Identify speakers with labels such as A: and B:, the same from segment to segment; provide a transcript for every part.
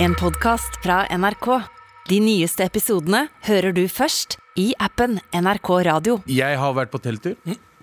A: En podcast fra NRK. De nyeste episodene hører du først i appen NRK Radio.
B: Jeg har vært på telttur.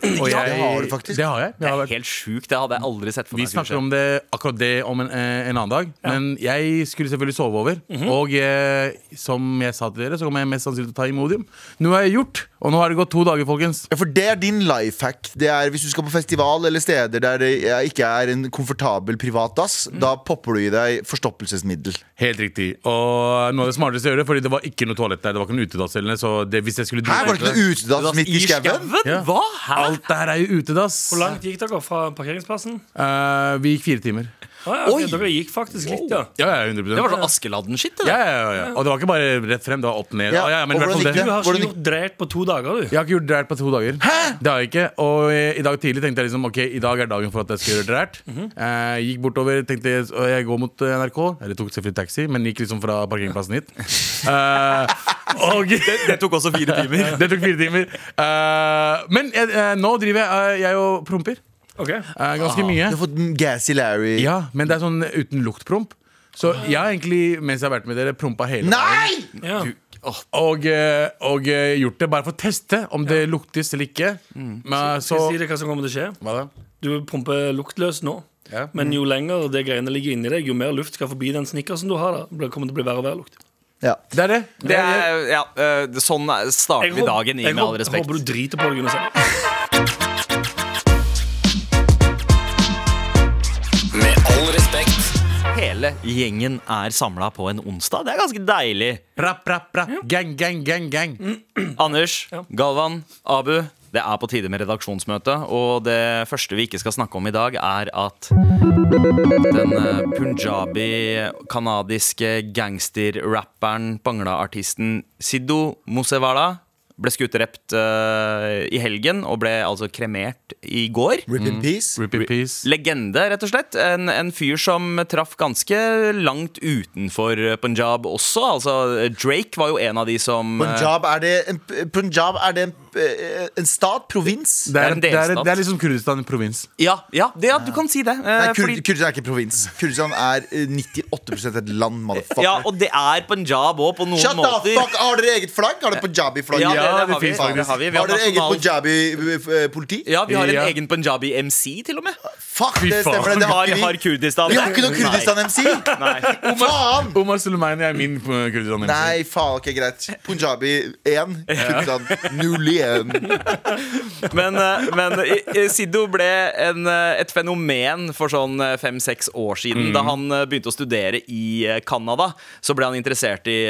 B: Og
C: Ja, det har du faktisk.
B: Det har jeg. jeg har vært.
D: Helt sjukt, det hadde jeg aldri sett for
B: Vi
D: meg.
B: snakker om det, akkurat det om en, eh, en annen dag. Men jeg skulle selvfølgelig sove over.
C: Mhm.
B: Og eh, som jeg sa til dere, så kommer jeg mest sannsynlig til å ta Imodium. Nå har jeg gjort, og nå har det gått to dager, folkens.
C: Ja, for det er din life hack. Det er Hvis du skal på festival eller steder der det ikke er en komfortabel privat dass,
D: Mm.
C: da popper du i deg forstoppelsesmiddel.
B: Helt riktig. Og noe av det smarteste jeg gjorde, fordi det var ikke noe toalett der. Det var ikke noe utedass eller noe, så det, hvis jeg skulle
C: Her var det ikke noe
D: Du
C: utedass
D: var
C: midt i
D: i
C: skauen.
D: skauen?
B: Ja.
D: Hva? Hæ?
B: Alt der er jo utedass.
E: Hvor langt gikk dere fra parkeringsplassen?
B: Eh, vi gikk fire timer.
E: Ah, ja, ok, Dere gikk faktisk litt, ja.
B: Ja, ja, 100
D: Det var sånn Askeladden-shit. det
B: ja,
D: der.
B: ja, ja. Og det var ikke bare rett frem, det var opp ned.
C: Ja,
B: Ja, ja, men i
C: og
B: hvert
C: hvordan
B: fall det.
C: gikk
E: Du har
C: Hvordan
E: ikke gjort drært på to dager, du.
B: Jeg har ikke gjort drært på to dager. Det har jeg ikke Og eh, i dag tidlig tenkte jeg liksom Ok, i dag er dagen for at jeg skal gjøre drært. Eh, Gikk bortover, tenkte jeg Og jeg går mot eh, NRK. Eller tok selvfølgelig taxi, men gikk liksom fra parkeringsplassen hit. Eh, og
D: Det, det tok også fire timer.
B: det tok fire timer. Eh, men jeg, eh, nå driver jeg eh, Jeg og promper.
E: Ok,
B: eh, ganske mye.
C: Du har fått en Gassy Larry.
B: Ja, men det er sånn uten luktpromp. Så jeg har egentlig, mens jeg har vært med dere, prompa hele dagen.
C: Nei!
E: ja.
B: Og, eh, og eh, gjort det bare for å teste om det luktes eller ikke. Men,
E: Skal jeg si
B: så,
E: deg hva som kommer til å skje?
B: hva da?
E: Du promper luktløs nå.
B: Ja.
E: Men jo lenger det greiene ligger inni deg, jo mer luft skal forbi den snickersen du har. da Det kommer til å bli verre og verre lukt.
C: Ja.
B: Det er det.
D: Det er, ja, eh, sånn er- starter vi
E: håp-
D: dagen i,
E: jeg
D: med all
E: håp-
D: respekt.
E: håper du driter på deg under sengen.
D: Hele gjengen er samla på en onsdag. Det er ganske deilig.
B: Rapp, rapp, rapp. Gang, gang, gang, gang.
D: Anders, Galvan, Abu. Det er på tide med redaksjonsmøte, og det første vi ikke skal snakke om i dag, er at den eh, punjabi-kanadiske gangsterrapperen, bangla-artisten Siddo Mosewala ble skutt og drept eh, i helgen, og ble altså kremert i går.
C: Rip in peace.
B: Rip in peace.
D: Legende, rett og slett. En, en fyr som traff ganske langt utenfor Punjab også. Altså, Drake var jo en av de som eh,
C: Punjab, er det en, Punjab, er det en, eh, en stat? Provins?
B: Det er,
D: en
B: det, er,
D: delstat.
B: det er liksom Kurdistan i provins.
D: Ja, ja, det, ja du kan si det. eh,
C: Nei, Kur
D: fordi-
C: Kurdistan er ikke provins. Kurdistan er eh, 98 et land, motherfucker.
D: ja, og det er Punjab òg, på noen
C: Shut the
D: måter.
C: fuck! Har dere eget flagg? Har dere punjabi-flagg?
B: det
D: Ja, det, det, har vi,
B: finnes
D: det har vi. Vi har,
C: har dere eget eh,
D: nasjonal-
C: punjabi-politi?
D: ja, vi har en
B: Ja.
D: egen punjabi-MC, til og med.
C: Fuck,
B: Fy
C: det
B: faen.
C: stemmer. Det, det har
D: Har,
C: ikke
D: har
C: vi.
D: Kurdistan.
C: Vi har ikke noe Kurdistan-MC!
D: Nei. Nei.
C: Faen!
B: Omar Suleimani er min eh, Kurdistan.
C: Nei, faen, ok, greit. Punjabi 1, Kurdistan 0 igjen.
D: Men, eh, men i- i Siddo ble en, eh, et fenomen for sånn fem-seks år siden.
C: Mm.
D: Da han eh, begynte å studere i eh, Canada, så ble han interessert i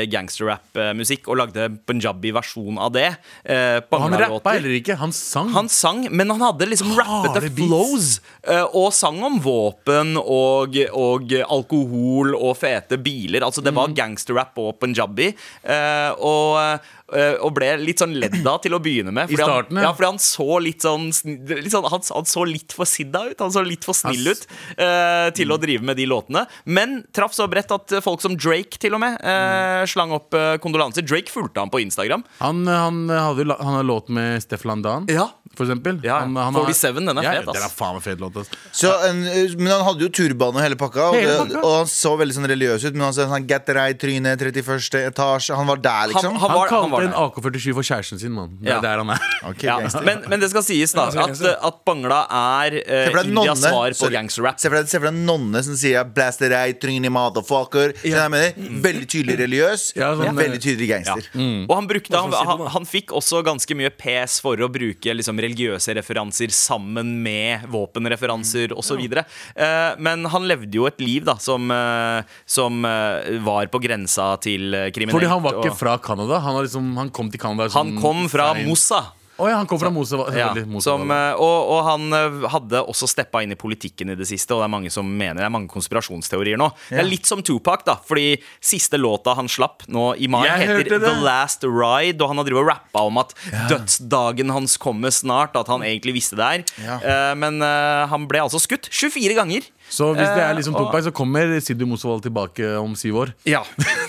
D: gangsterrap-musikk og lagde punjabi-versjon av det. eh,
B: Han
D: banglalåter.
B: rappa heller ikke. Han sang.
D: Han sang, men han hadde liksom rappete
B: Harde beats.
D: flows. eh, Og sang om våpen og, og alkohol og fete biler. Altså
B: Mm.
D: Det var gangsterrap og punjabi. eh, Og, eh, og ble litt sånn ledd av til å begynne med.
B: I starten, ja.
D: han, ja, fordi han så litt sånn, sn- litt sånn han, han så litt for sidda ut. Han så litt for snill
B: Ass. Mm.
D: ut eh, til å drive med de låtene. Men traff så bredt at folk som Drake til og med eh,
B: Mm.
D: slang opp eh, kondolanser. Drake fulgte han på Instagram.
B: Han, han, hadde, jo la- han har låt med Stefflan Dan,
D: Ja.
B: for eksempel.
D: Ja,
B: han,
D: 47, den er
B: ja,
D: fet, ass.
B: Den er faen meg fet låt, ass.
C: Så en, men han hadde jo turban og hele pakka, og,
B: Hele
C: det,
B: pakka.
C: og han så veldig sånn religiøs ut. Men han sa sånn get right tryne, 31. etasje. Han var der, liksom.
D: Han
B: Han,
D: var- han
B: kalte
D: var der.
B: en AK-47 for kjæresten sin, mann. Det
D: Ja.
B: er der han er.
C: Ok,
D: Ja,
C: gangster.
D: men, men det skal sies da
E: Ja,
D: at,
E: så-
D: at Bangla er eh,
C: Se for deg en
D: Indias
C: nonne.
D: svar på
C: Sorry.
D: gangsterrap.
C: Se for deg, se for deg en nonne som sier 'blast it right, tryne, motherfucker'. Skjønner du hva
D: Mm.
C: jeg mener? Veldig tydelig religiøs,
B: Ja, sånn,
C: veldig tydelig
D: eh, Ja. Mm.
C: gangster.
D: Og han, brukte, han,
E: Hva skal vi si
D: han,
E: på det?
D: han fikk også ganske mye pes for å bruke liksom, religiøse referanser sammen med våpenreferanser osv. Uh, men han levde jo et liv da som, eh, som eh, var på grensa til eh, kriminelt.
B: Fordi han var ikke
D: og-
B: fra Canada. Han, har liksom, han kom til Canada
D: han
B: som-
D: kom fra
B: Nei.
D: Mossa.
B: Å ja, han kom fra Mosa.
D: Ja,
B: selvfølgelig, Mosa
D: som,
B: var det.
D: eh, og, og han eh, hadde også steppa inn i politikken i det siste, og det er mange som mener det er mange konspirasjonsteorier nå. Det er litt som Tupac, da, fordi siste låta han slapp nå i mai,
B: Jeg hørte
D: heter
B: det.
D: The Last Ride, og han har drevet og rappa om at dødsdagen hans kommer snart, at han egentlig visste det her.
C: Ja.
D: Eh, Men eh, han ble altså skutt 24 ganger.
B: Så hvis det er liksom
D: Eh, og-
B: Tupac, så kommer Siddu Mosvold tilbake om syv år.
D: Ja.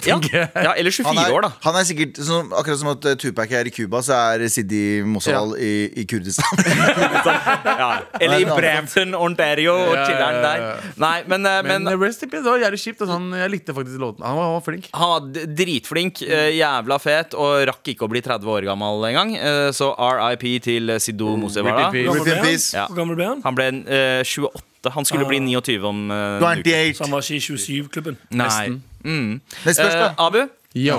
D: ja. ja eller
C: Han
D: 24
C: er,
D: år, da.
C: han er sikkert som, Akkurat som at eh, Tupac er i Cuba, så er Sidi Mosal i, i Kurdistan.
D: Ja. Eller
C: Nei,
D: i
C: det er
D: Brampton, Ontario og
B: Ja, ja,
D: chiller'n
B: ja, ja.
D: der. Nei, men, eh,
B: Men,
D: men
B: eh, Rest in peace, det var jævlig kjipt. Altså, han, jeg likte faktisk låten. Han var, han var flink.
D: Han var d- dritflink, eh, jævla fet og rakk ikke å bli 30 år gammel engang. Eh, Så RIP til eh, Siddo Mosevara.
B: Rip in
E: Hvor
B: peace.
E: gammel
C: Rip in
E: ble han?
C: peace.
D: Ja.
E: Hvor gammel ble han?
D: Han ble eh, 28. Han skulle bli 29 om eh, en uke.
C: 28.
E: Så han var ikke i 27-klubben?
D: Nei. Mm.
C: Det spørs,
D: Eh,
C: da.
D: Abu,
B: Yo.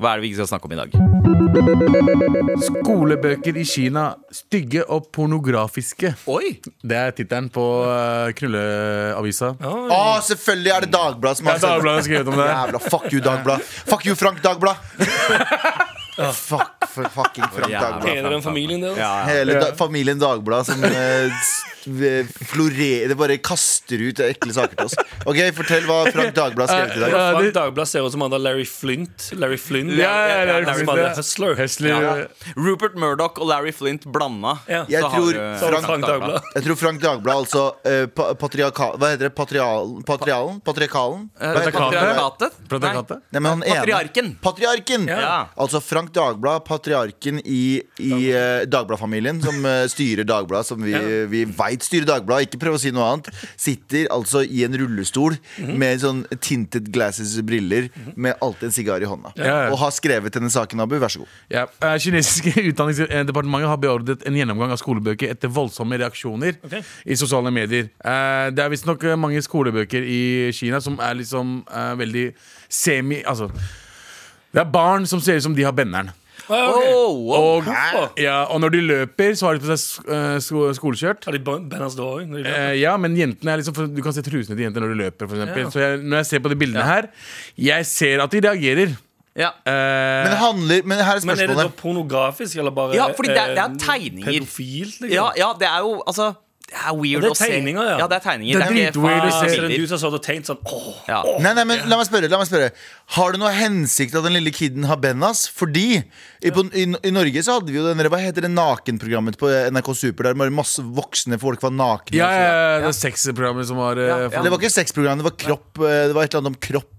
D: hva er det vi ikke skal snakke om i dag?
B: Skolebøker i Kina. Stygge og pornografiske.
D: Oi!
B: Det er tittelen på eh, krølleavisa.
D: Eh,
C: Å, Ah, selvfølgelig er det Dagbladet som
B: Ja,
C: har sendt
B: Dagbladet har skrevet om det.
C: Jævla fuck you, Dagblad. Fuck you, Frank Dagblad. fuck for fucking Frank
D: Jævla
C: Dagblad.
E: Hele den familien der, altså.
D: Ja, ja.
C: Hele da familien Dagblad som eh, s- eh, florerer Det bare kaster ut ekle saker til oss. Ok, Fortell hva Frank Dagblad skrev til i dag.
B: Ja,
E: Frank
B: det-
E: Dagblad ser ut som han der Larry Flint. Larry Flynn.
B: Ja, ja, ja,
E: han
B: Larry
E: som
B: Flint,
E: hadde
B: ja.
E: Hustler.
B: Hesler
D: Ja. Eh, Rupert Murdoch og Larry Flint blanda.
E: Ja.
C: Jeg
D: Så har
C: tror
D: du- eh,
E: Så var det
C: Frank-
E: Frank Dagblad.
C: Jeg tror Frank Dagblad altså eh, pa patriarka... Hva heter det? Patrial, patrialen? Patriarkalen?
D: Eh,
C: Hva heter det?
D: Patriarkatet?
B: Patriarkatet?
C: Nei, men han ene-
D: Patriarken.
C: Patriarken!
D: Ja.
C: Altså Frank Dagblad, patriarken i, i eh, Dagblad-familien, som eh, styrer Dagbladet, som vi, vi veit styrer Dagbladet, ikke prøv å si noe annet, sitter altså i en rullestol med sånn tinted glasses-briller, med alltid en sigar i hånda.
B: Ja.
C: Og har skrevet denne saken, Abu. Vær så god.
B: Ja. Eh, Kinesiske utdanningsdepartementet har beordret en gjennomgang av skolebøker etter voldsomme reaksjoner
E: Ok.
B: i sosiale medier. Eh, det er visstnok eh, mange skolebøker i Kina som er liksom eh, veldig semi... Altså, det er barn som ser ut som de har benneren.
E: Ah, ok.
D: Oh, wow.
B: Og, ja, og når de løper, så har de på seg sk- eh, sko skoleskjørt.
E: Har de ban- banners da òg?
B: Eh, ja, men jentene er liksom for, Du kan se trusene til jentene når du løper. For eksempel
E: Ja.
B: Så jeg, Når jeg ser på de bildene her, jeg ser at de reagerer.
D: Ja.
B: Eh,
C: Men, det handler, men her er
E: Men er det da
C: spørsmålet.
E: pornografisk, eller bare
D: Ja, fordi det er- det er
E: eh,
D: tegninger.
E: Pedofilt, liksom?
D: Ja, ja, det er jo altså Det er weird
E: Det er
D: å se.
E: tegninger, ja.
D: ja. Det er tegninger.
B: Det er
D: ikke
B: dritweird å
E: Ah,
B: se.
E: så
D: faktisk
E: er det
D: bilder.
E: du som satt og tegnet sånn åh,
D: Ja.
C: Nei, nei, men la meg spørre, la meg spørre Har det noe hensikt at den lille kiden har bennas? Fordi i, på, i, i Norge så hadde vi jo den, hva heter det nakenprogrammet på NRK Super, der bare masse voksne folk var nakne.
B: ja,
C: og så-
B: ja, ja, det er sexprogrammet som var eh,
D: Ja, ja.
B: for-
C: Det var ikke sexprogram, det var kropp. eh, Det var et eller annet om kropp.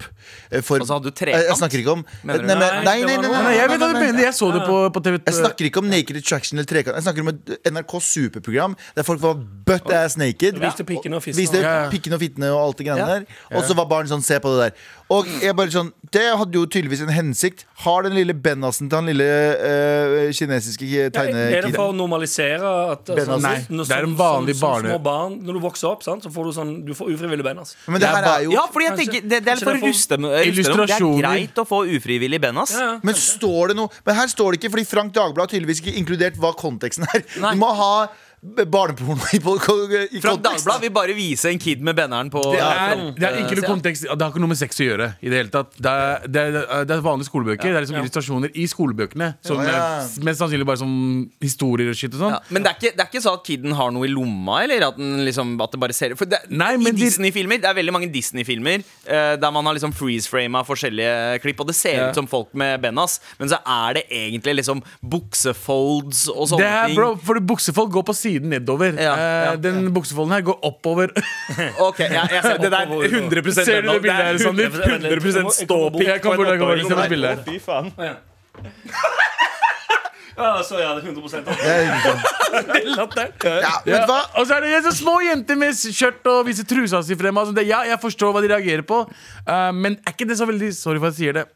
C: eh, For,
D: Altså, hadde du trekant?
C: Eh, Jeg snakker ikke om
D: Mener du?
C: Nei, men- nei,
E: Nei, det
C: nei, nei,
E: var noe-
B: Nei,
C: nei,
B: jeg
C: nei,
B: vet hva du
C: nei, nei.
B: mener. Jeg så det på, på TV.
C: Jeg snakker ikke om Naked Attraction eller trekant. Jeg snakker om et NRK Super-program der folk var butt ass naked.
E: Viste pikkene og fissene.
C: Viste
B: Ja.
C: pikkene og fittene og alt det greiene
D: Ja.
C: der. Og så var barn sånn Se på det der. Og jeg bare sånn Det hadde jo tydeligvis en hensikt. Har den lille Bennasen til han lille eh, kinesiske
E: Er det for
C: tegnekiden
E: å normalisere at
C: Bennas.
B: Nei,
E: sånn-
B: det er en
E: sånn-
B: vanlig
E: sånn-
B: barne-
E: sånn små barn, Når du vokser opp, sant, så får du sånn Du får ufrivillig altså. bennas.
C: Men det
B: Det er
C: her
B: ba-
C: er jo
D: Ja, fordi jeg
E: Kanskje-
D: tenker Det, det er
E: kanskje
D: for
E: det er for-
D: ruste dem. ruste dem. Det er
B: Illustrasjoner.
D: greit å få ufrivillig bennas.
E: Ja, ja.
C: Men står det noe Men her står det ikke, fordi Frank Dagblad har tydeligvis ikke inkludert hva konteksten er.
D: Nei.
C: Du må ha barneporno i, på- i
D: Fra
C: konteksten.
D: Dagbladet vil bare vise en kid med benneren på
B: Det er, det er ikke noe kontekst Det har ikke noe med sex å gjøre. I Det hele tatt Det er, det er, det er vanlige skolebøker. Det er liksom illustrasjoner i skolebøkene. Som,
C: Ja.
B: eh, Mest sannsynlig bare som historier og shit og sånn.
D: Ja, men det er, ikke, det er ikke sånn at kiden har noe i lomma, eller at, den liksom, at det bare ser For det,
B: Nei,
D: i
B: men de-
D: Disney-filmer, det er veldig mange Disney-filmer eh, der man har liksom freeze-frama forskjellige klipp, og det ser
B: Ja.
D: ut som folk med bennas, men så er det egentlig liksom buksefolds og
B: Det
D: sånne
B: er,
D: ting.
B: bro, for Buksefold går på siden nedover.
D: Ja, ja.
B: Eh, den buksefolden her går oppover.
D: Ok, ja, jeg ser det der 100
B: Ser du det bildet her, Sander?
E: Det er
B: 100 ståpikk. Jeg kan bort, jeg kan bort, se på liksom, det bildet her.
E: Fy faen. Ja. så ja, det er 100
C: Det er ikke- Ja, vet du hva?
B: Og så er det så små jenter med skjørt og viser trusa si frem. Altså det, ja, jeg forstår hva de reagerer på, eh, men er ikke det så veldig Sorry for at jeg sier det.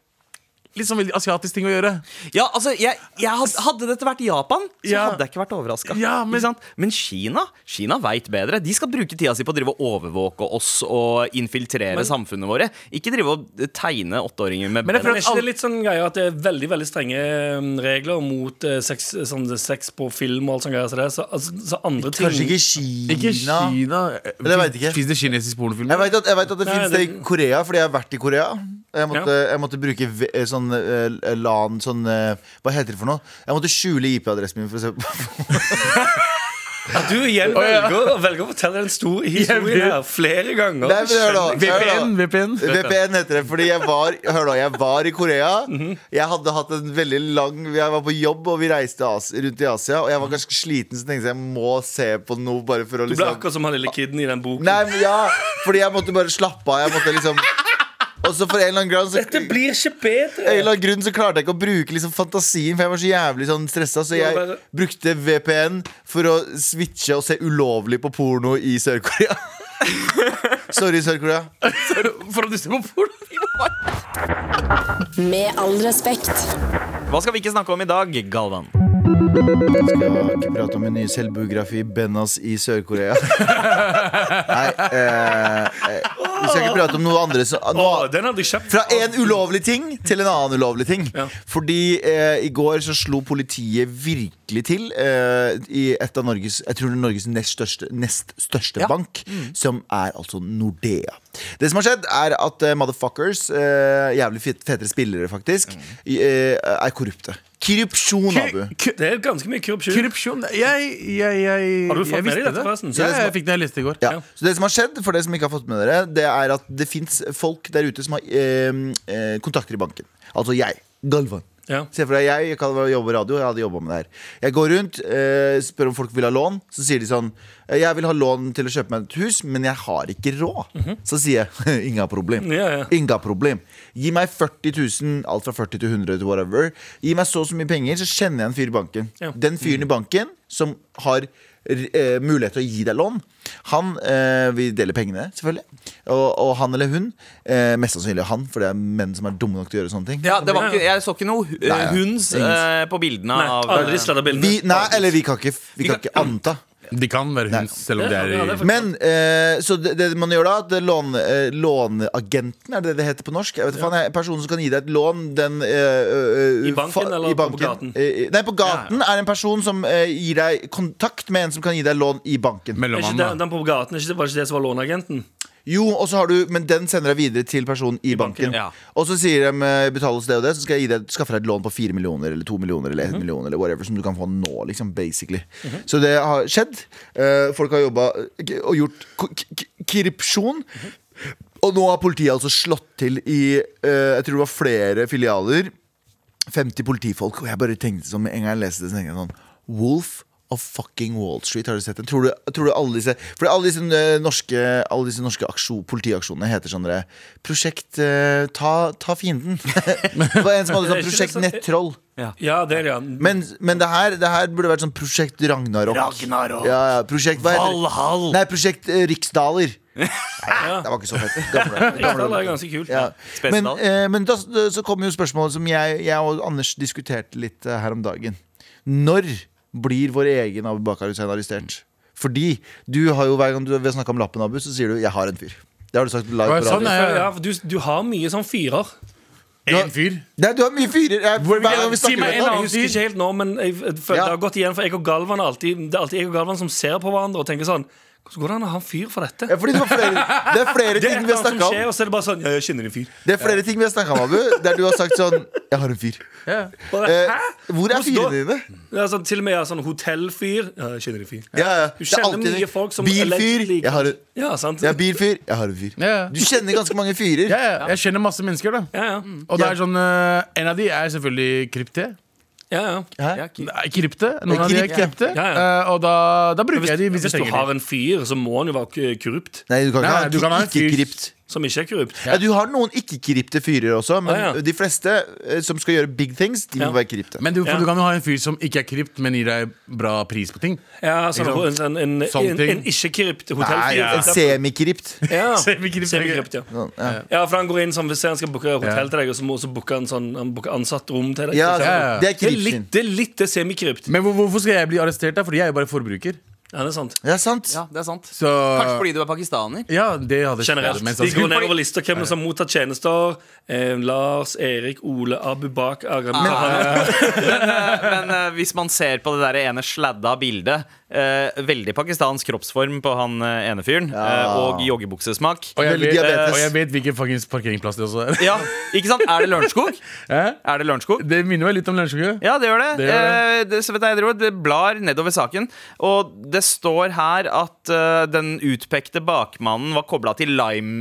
B: Litt sånn veldig asiatisk ting å gjøre.
D: Ja, altså, jeg, jeg had- Hadde dette vært Japan, så
B: Ja.
D: hadde jeg ikke vært overraska.
B: Ja, men-
D: men Kina Kina veit bedre. De skal bruke tida si på å drive og overvåke oss og infiltrere samfunnet våre. Ikke drive og eh, tegne åtteåringer med
B: Men jeg
E: Men
D: brenner.
E: er
B: Alt-
E: ikke det litt sånn greie at det er veldig veldig strenge eh, regler mot eh, sex, sånn, sex på film og alt sånt greier som det? Så, altså, så andre ting
C: Kanskje ikke Kina.
B: Ikke Kina.
C: Eller jeg vet ikke.
B: Fins det kinesisk pornofilm?
C: Jeg vet at, jeg vet at det
E: Nei,
C: finnes det i
E: det-
C: Korea, fordi jeg har vært i Korea. Jeg måtte, jeg måtte bruke v- eh, sånn eh, LAN sånn, eh, Hva heter det for noe? Jeg måtte skjule IP-adressen min for å se på
E: At du igjen velger, velger å fortelle en stor historie her flere ganger.
C: Nei, men hør nå, hør nå.
B: VPN, VPN.
C: VPN heter det, fordi jeg var Hør da, jeg var i Korea
E: Mhm.
C: Jeg hadde hatt en veldig lang Jeg var på jobb, og vi reiste as, rundt i Asia Og jeg var ganske sliten, så tenkte jeg Jeg må se på noe bare for å
E: Mhm. Du ble
C: liksom
E: akkurat som han lille kiden i den boken.
C: Nei, men ja, fordi jeg måtte bare slappe av Jeg måtte liksom Og så for en eller annen grunn så,
E: Dette blir ikke
C: en
E: bedre!
C: eller annen grunn så klarte jeg ikke å bruke liksom fantasien For jeg var så jævlig sånn stresset Så
E: Ja,
C: jeg
E: bare-
C: brukte VPN For å switche og se ulovlig på porno i Sør-Korea Sorry, Sør-Korea
B: For at du ser på porno.
F: Med all respekt.
D: Hva skal vi ikke snakke om i dag, Galvan?
C: skal ikke prate om min nye selvbiografi Bennas i Sør-Korea. Nei, eh, eh, vi skal ikke prate om noe andre som
E: Å,
C: noe,
E: den hadde jeg kjøpt.
C: Fra en ulovlig ting til en annen ulovlig ting.
E: Ja.
C: Fordi eh, i går så slo politiet virkelig til eh, i et av Norges Jeg tror det er Norges nest største, nest største bank,
E: Mm.
C: som er altså Nordea. Det som har skjedd, er at eh, motherfuckers, eh, jævlig fet, fetere spillere faktisk,
E: Mm.
C: i- eh, er korrupte. Korrupsjon, Abu.
E: Det er ganske mye korrupsjon.
B: Korrupsjon Jeg, jeg, jeg
E: Har du fått
B: jeg
E: med
B: visste
E: deg dette, forresten?
B: Ja, jeg fikk det jeg leste i går.
C: Ja.
E: Ja.
C: Så det som har skjedd, for det som ikke har fått med dere, det er at det fins folk der ute som har eh, eh, kontakter i banken. Altså jeg. Galvan.
E: Ja.
C: Se for deg jeg, jeg kan jobbe på radio, jeg hadde jobba med det her. Jeg går rundt, eh, spør om folk vil ha lån. Så sier de sånn eh, Jeg vil ha lån til å kjøpe meg et hus, men jeg har ikke råd. Så sier jeg inga problem.
E: Mhm. Ja, ja.
C: Inga problem. Gi meg 40 000, alt fra 40 til 100 til whatever. Gi meg så og så mye penger, så kjenner jeg en fyr i banken.
E: Ja. Mhm.
C: Den fyren i banken som har eh, mulighet til å gi deg lån, han eh, Vi deler pengene, selvfølgelig. Og, og han eller hun, eh, mest sannsynlig han, for det er menn som er dumme nok til å gjøre sånne ting.
D: Ja, det var ikke, jeg så ikke noe eh,
C: Nei, ja.
D: hunds eh, på bildene
E: Nei,
D: av
E: alle de sladda bildene.
C: Vi, nei, eller vi kan ikke, vi kan ikke anta.
B: De kan være
C: Nei.
B: hund, selv om det
E: Ja,
B: er
E: ja,
B: i
E: det er faktisk-
C: Men eh, Så det, det man gjør da at lån, eh, Låneagenten, er det det det heter på norsk? Jeg vet ikke, faen, jeg- Personen som kan gi deg et lån den, eh, eh,
E: I banken eller
C: i
E: på gaten?
C: Eh, Nei, på gaten er en person som eh, gir deg kontakt med en som kan gi deg lån i banken.
E: Er ikke den,
B: mellommannen. da.
E: den på gaten, er ikke, var det ikke det som var låneagenten?
C: Jo, og så har du, Men den sender deg videre til personen i, banken.
D: banken, ja.
C: Og så sier de eh, betal oss det og det, så skal jeg gi deg, skaffe deg et lån på fire millioner eller to millioner eller en million eller whatever som du kan få nå. liksom, basically Så det har skjedd. Eh, folk har jobba og gjort k- k- korrupsjon. Og nå har politiet altså slått til i eh, jeg tror det var flere filialer. 50 politifolk, og jeg bare tenkte sånn med en gang jeg leste det, så tenkte jeg sånn Wolf of fucking Wall Street, har du sett den? Tror du, tror du alle disse For alle disse eh, norske, alle disse norske aksjo, politiaksjonene heter sånn derre Prosjekt eh, ta, ta fienden. det var en som hadde sånn
E: Er det ikke
C: Prosjekt
E: det
C: Nettroll.
E: Ja, det er det, ja.
C: Men, men det, her, det her burde vært sånn Prosjekt Ragnarok.
D: Ragnarok.
C: Ja, ja, prosjekt, hva heter det?
D: Valhall.
C: Nei, Prosjekt eh, Riksdaler. Nei, det var ikke så fett. Gamle-
E: Ja,
C: gamle-
E: Det er ganske kult.
C: ja. Men,
D: Spesedal.
C: eh, men da, så kommer jo spørsmålet som jeg, jeg og Anders diskuterte litt eh, her om dagen. Når blir vår egen Abu Bakar Hussein arrestert? Fordi du har jo hver gang du har snakka om lappen, Abu, så sier du 'jeg har en fyr'. Det har du sagt live
B: Hva er
C: på
B: sånn,
C: radio.
B: ja.
E: For, ja, for du, du har mye sånn firer.
B: En fyr.
C: Nei, du har mye fyrer. Jeg, hver gang vi
B: Si
C: snakker
B: meg en
C: om
E: Jeg
C: det.
B: annen
E: husker ikke helt nå, men jeg, jeg, føler
C: Ja.
E: det har gått igjen. For jeg og Galvan er alltid, det er alltid jeg og Galvan som ser på hverandre og tenker sånn Hvordan går det an å ha en fyr for dette?
C: Ja, fordi det, var flere, det er flere
E: Det er et
C: ting vi
E: eller
C: har
E: annet som
C: snakka
E: skjer,
C: om.
E: og så er det bare sånn Ja, jeg kjenner en fyr.
C: Det er flere ting vi har snakket om, Abu. Der du har sagt sånn 'Jeg har en fyr'. Eh,
E: Bare, Hæ?
C: hvor er
E: Hvordan da?
C: fyrene dine?
E: Det er sånn, til og med ja, sånn hotellfyr. Ja, jeg kjenner en fyr.
C: Ja, ja.
E: Du
C: Det er
E: kjenner
C: alltid-
E: mye folk som
C: Bilfyr.
E: allegedly-
C: Jeg har en
E: Ja, sant?
C: jeg er bilfyr. Jeg har en fyr.
B: Ja, ja.
C: Du kjenner ganske mange fyrer.
B: Ja, ja. Jeg kjenner masse mennesker, da.
E: Ja, ja.
B: Og det er sånn, eh, en av de er selvfølgelig krypte.
E: ja, ja.
C: Hæ?
B: Nei, krypte. Noen av de er
C: Krypte.
B: krypte.
E: Ja, ja.
B: Eh, og da, da bruker
E: Hvis,
B: jeg de hvis
E: hvis
B: jeg
E: du
B: trenger
E: har
B: de.
E: en fyr, så må han jo være korrupt.
C: Nei, du kan
B: Nei,
C: ikke
B: nei, du kan
C: ha
B: ha
C: en
B: en
C: ikke-krypt.
E: Som ikke er korrupt.
C: Ja, du har noen ikke-krypte fyrer også, men
E: Ah, ja.
C: de fleste eh, som skal gjøre big things, de må
E: Ja.
C: være krypte.
B: Men du, for
E: Ja.
B: du kan jo ha en fyr som ikke er krypt, men gir deg bra pris på ting.
E: Ja, sånn,
B: Ikke
E: en, en,
B: Sånne
E: en,
B: ting.
E: en ikke-korrupt
C: Nei,
E: hotellfyr.
C: en semikrypt.
E: Ja.
B: Semikrypt.
E: Semikrypt, ja.
C: Sånn, ja.
E: Ja, for han går inn sånn, Hvis han skal booke hotell til deg, og så må så booke han sånn, han booker ansatt rom til deg.
C: Ja,
E: så-
B: ja, ja.
C: det er
E: Det er
C: krypt sin.
E: litt det, er litt det semikrypt.
B: Men hvor, hvorfor skal jeg bli arrestert, da? Fordi jeg er jo bare forbruker.
E: Ja, det er sant.
C: Ja, sant.
D: Ja, det er sant.
B: Så
D: Kanskje fordi du er pakistaner?
B: Ja, det hadde
E: Generelt.
B: Men
C: sånn
E: De går
B: sannsynlig-
E: nedover lista hvem som har mottatt tjenester. Eh, Lars, Erik, Ole, Abu Bak, Aram
D: Men, eh, men eh, hvis man ser på det der ene sladda bildet eh, veldig pakistansk kroppsform på han eh, ene fyren. eh, og joggebuksesmak.
B: Og jeg,
C: Veldig
B: vet,
C: diabetes.
B: og jeg vet hvilken fuckings parkeringsplass det også er.
D: Ja, ikke sant? Er det Lørenskog?
B: Hæ?
D: Er det Lørenskog?
B: Det minner meg litt om Lørenskog.
D: Ja, det gjør det.
B: Det gjør det.
D: Eh, det- så vet jeg, Edward, det blar nedover saken, og det står her at eh, den utpekte bakmannen var kobla til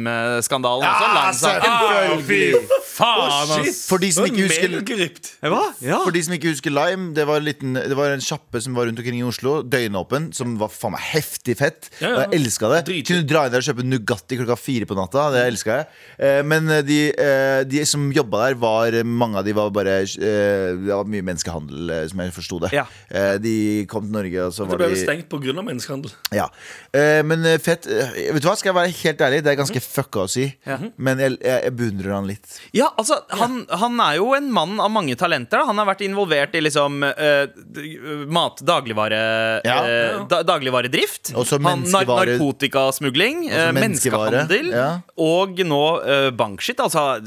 D: Lime-skandalen også. Lime-saken.
E: fy
B: Faen,
E: Ah,
B: ass!
C: For de som ikke husker
D: Hva? Ja.
C: For de som ikke husker Lime, det var, en liten, det var en sjappe som var rundt omkring i Oslo, døgnåpen, som var faen meg heftig fett.
E: Ja, ja.
C: Og jeg elska det.
E: Dritfett.
C: Kunne dra inn der og kjøpe Nugatti klokka fire på natta. Det elska jeg. Eh, Men de, eh, de som jobba der, var mange av de var bare eh, Det var mye menneskehandel, eh, som jeg forsto det.
D: Ja.
C: Eh, De kom til Norge, og så
E: Det
C: var
E: ble vel
C: de
E: stengt pga. menneskehandel.
C: ja. Eh, Men eh, fett eh, Vet du hva, skal jeg være helt ærlig, det er ganske fucka å si,
E: Mhm.
C: men jeg, jeg, jeg beundrer han litt.
D: Ja, altså, han, han er jo en mann av mange talenter. Da. Han har vært involvert i liksom eh, d- mat, dagligvare,
C: Ja.
D: eh, da, dagligvaredrift.
C: Også
D: Han- nar-
C: menneskevare-
D: narkotikasmugling, eh,
C: menneskevare,
D: menneskehandel
C: ja.
D: og nå eh, bankskitt. Altså,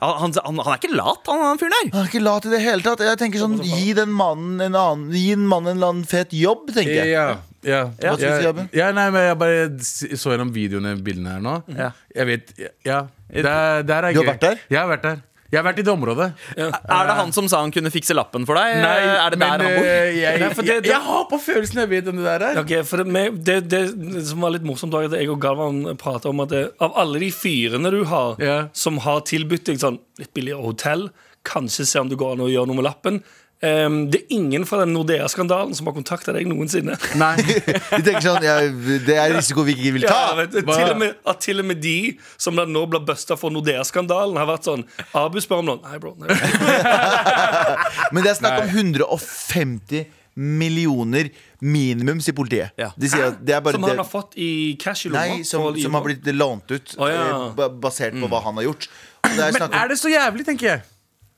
D: han, han, han er ikke lat, han, han fyren der.
C: Han er ikke lat i det hele tatt. Jeg tenker sånn, Gi den mannen en annen Gi en mann en eller annen fet jobb, tenker jeg.
B: Ja, ja.
C: Hva skulle du si, Abu?
B: Jeg- ja, nei, men jeg bare s- så gjennom videoene bildene her nå.
D: Mm. Ja.
B: Jeg vet Ja. Der, der er
C: Du har
B: gøy.
C: vært der?
B: Jeg har vært der. Jeg har vært i det området.
D: Er det han som sa han kunne fikse lappen for deg? er det der
B: men,
D: han bor?
B: eh, Jeg,
E: Nei, for
B: jeg,
E: det-
B: jeg har på følelsen jeg vet hvem det der er.
E: Ok, for det, meg- det, det som var litt morsomt, var at jeg og Galvan prata om at det, av alle de fyrene du har,
B: Ja.
E: som har tilbudt deg sånn litt billigere hotell, kanskje se om det går an å gjøre noe med lappen ehm, Det er ingen fra den Nordea-skandalen som har kontakta deg noensinne.
B: Nei.
C: De tenker sånn ja, Det er risiko vi ikke vil
E: Ja,
C: ta.
E: vet, du, til og med, at til og med de som da nå blir busta for Nordea-skandalen, har vært sånn Abu spør om noen. Nei, bro. Nei.
C: Men det er snakk om 150 millioner minimum, sier politiet.
D: Ja.
C: De sier at det er bare
E: Som han
C: det
E: har fått i cash i lomma.
C: Nei, som,
E: for å lyve.
C: som har blitt lånt ut,
E: Å, ja. Mm.
C: eh, ba- basert på hva han har gjort. Og det er snakk
B: Er
C: om
B: det så jævlig, tenker jeg.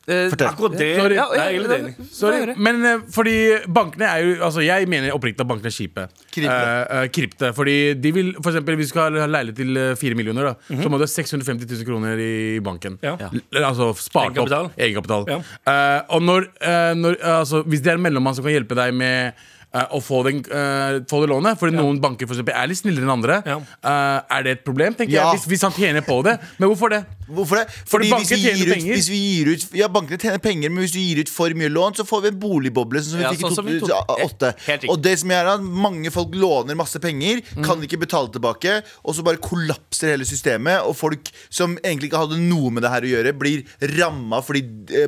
D: Eh,
C: Fortell.
E: Akkurat det.
B: Sorry.
E: Ja, Nei, jeg er litt enig.
B: Sorry, men eh, fordi bankene er jo Altså, jeg mener oppriktig at bankene er kjipe.
C: Krypte.
B: Eh, eh, krypte. Fordi de vil For eksempel, hvis du skal ha leilighet til eh, 4 millioner, da, så må du ha 650 000 kroner i banken.
E: Mhm. Ja. Ja.
B: L- Altså spart
E: Egenkapital.
B: opp egenkapital.
E: Ja.
B: Eh, og når, eh, når Altså, hvis det er en mellommann som kan hjelpe deg med eh, å få, den, eh, få det lånet, fordi noen banker for eksempel, er litt snillere enn andre,
E: Ja.
B: eh, er det et problem, tenker
C: Ja.
B: jeg, hvis, hvis han tjener på det. Men hvorfor det?
C: Hvorfor det? Fordi
B: banker
C: hvis vi,
B: tjener
C: gir ut,
B: penger.
C: hvis vi gir ut Ja, bankene tjener penger, men hvis du gir ut for mye lån, så får vi en boligboble. Sånn som vi
D: Ja,
C: fikk
D: sånn som vi
C: i
D: tok- Helt
C: 2008.
D: riktig. Mm.
C: Og det som gjør at mange folk låner masse penger, kan ikke betale tilbake, og så bare kollapser hele systemet, og folk som egentlig ikke hadde noe med det her å gjøre, blir ramma fordi eh,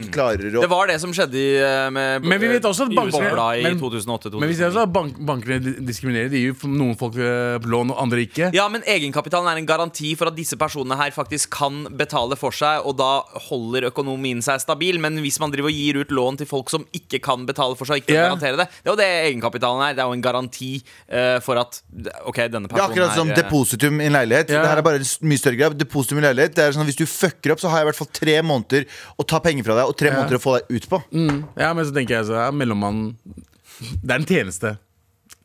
D: Mm.
C: ikke klarer å
D: det var det som skjedde i, eh, med
B: Men vi vet også at
D: i
B: bankene-
D: bobla i
B: men-
D: 2008-2009.
B: Men vi ser også at bank, bankene di- diskriminerer. De gir jo noen folk eh, lån, og andre ikke.
D: Ja, men egenkapitalen er en garanti for at disse personene her faktisk kan betale for seg, og da holder økonomien seg stabil. Men hvis man driver og gir ut lån til folk som ikke kan betale for seg, og ikke kan
B: Ja.
D: garantere det, det er jo det egenkapitalen er. Det er jo en garanti eh, for at Ok, denne
C: Det er
D: personen
C: akkurat som
D: eh,
C: depositum i en leilighet.
B: Ja.
C: Det her er bare en s- mye større grad. Depositum i en leilighet Det er sånn at Hvis du fucker opp, så har jeg i hvert fall tre måneder å ta penger fra deg, og tre måneder å få deg ut på.
B: Mm. ja, men så tenker jeg så er mellommannen Det er en tjeneste.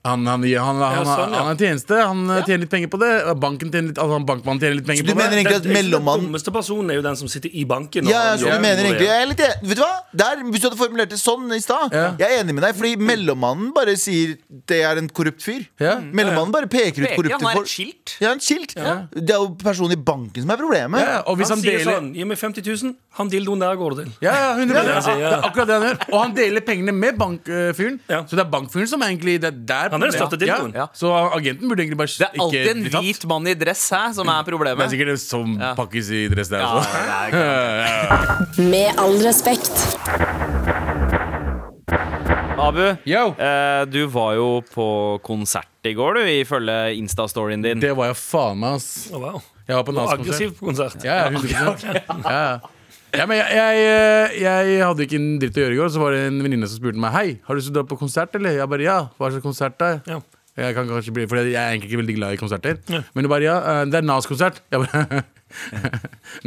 B: Han, han, han, han, han,
E: sånn, ja.
B: han er en tjeneste, han eh, tjener litt penger på det. Banken tjener litt, altså, han bankmannen tjener litt penger
C: du
B: på
C: mener
B: det.
C: egentlig at
E: Den-
C: mellommannen
E: Den dummeste personen er jo den som sitter i banken. og-
C: Ja, ja, så
E: Ja.
C: du mener egentlig jeg er litt, en- Vet du hva? Der, hvis du hadde formulert det sånn i stad
B: Ja.
C: Jeg er enig med deg, fordi mellommannen bare sier Det er en korrupt fyr
B: Ja.
C: Mellommannen bare peker ut
D: Peker,
C: korrupte
D: han er
C: folk
D: et skilt.
C: Ja, en skilt Det er jo personen i banken som er problemet
B: Ja, og hvis
E: Han
B: han,
E: sier
B: deler
E: sånn Gi meg 50 000, han dildoen der går det til.
B: Ja, ja, 100
E: Ja,
B: Det
E: ja.
B: er akkurat det han gjør. Og han deler pengene med bankfyren.
E: Ja.
B: Så det er bankfyren som egentlig det er der
E: Han er den største
B: ja.
E: dildoen.
B: Ja. Så agenten burde egentlig bare
D: Det er alltid
B: ikke
D: en
B: bli tatt.
D: hvit mann i dress her som Mm. er
B: Det er
D: problemet.
B: sikkert det som
D: Ja.
B: pakkes i dress der
D: Ja,
B: også.
D: det er
F: Med all respekt.
D: Abu,
B: Yo.
D: eh, du var jo på konsert i går, du, ifølge Insta-storyen din.
B: Det var jeg faen meg, ass.
E: Å, wow.
B: Jeg var på
E: Og
B: Nas-konsert.
E: Aggressiv på konsert.
B: Ja, ja, 100 ja. ja, men jeg, jeg, jeg hadde ikke en dritt å gjøre i går, så var det en venninne som spurte meg Hei, har du lyst til å dra på konsert, eller? Jeg bare ja. Hva slags konsert da?
E: Ja.
B: Jeg kan kanskje bli, for jeg er egentlig ikke veldig glad i konserter. Men du bare ja, eh, det er Nas-konsert. Jeg bare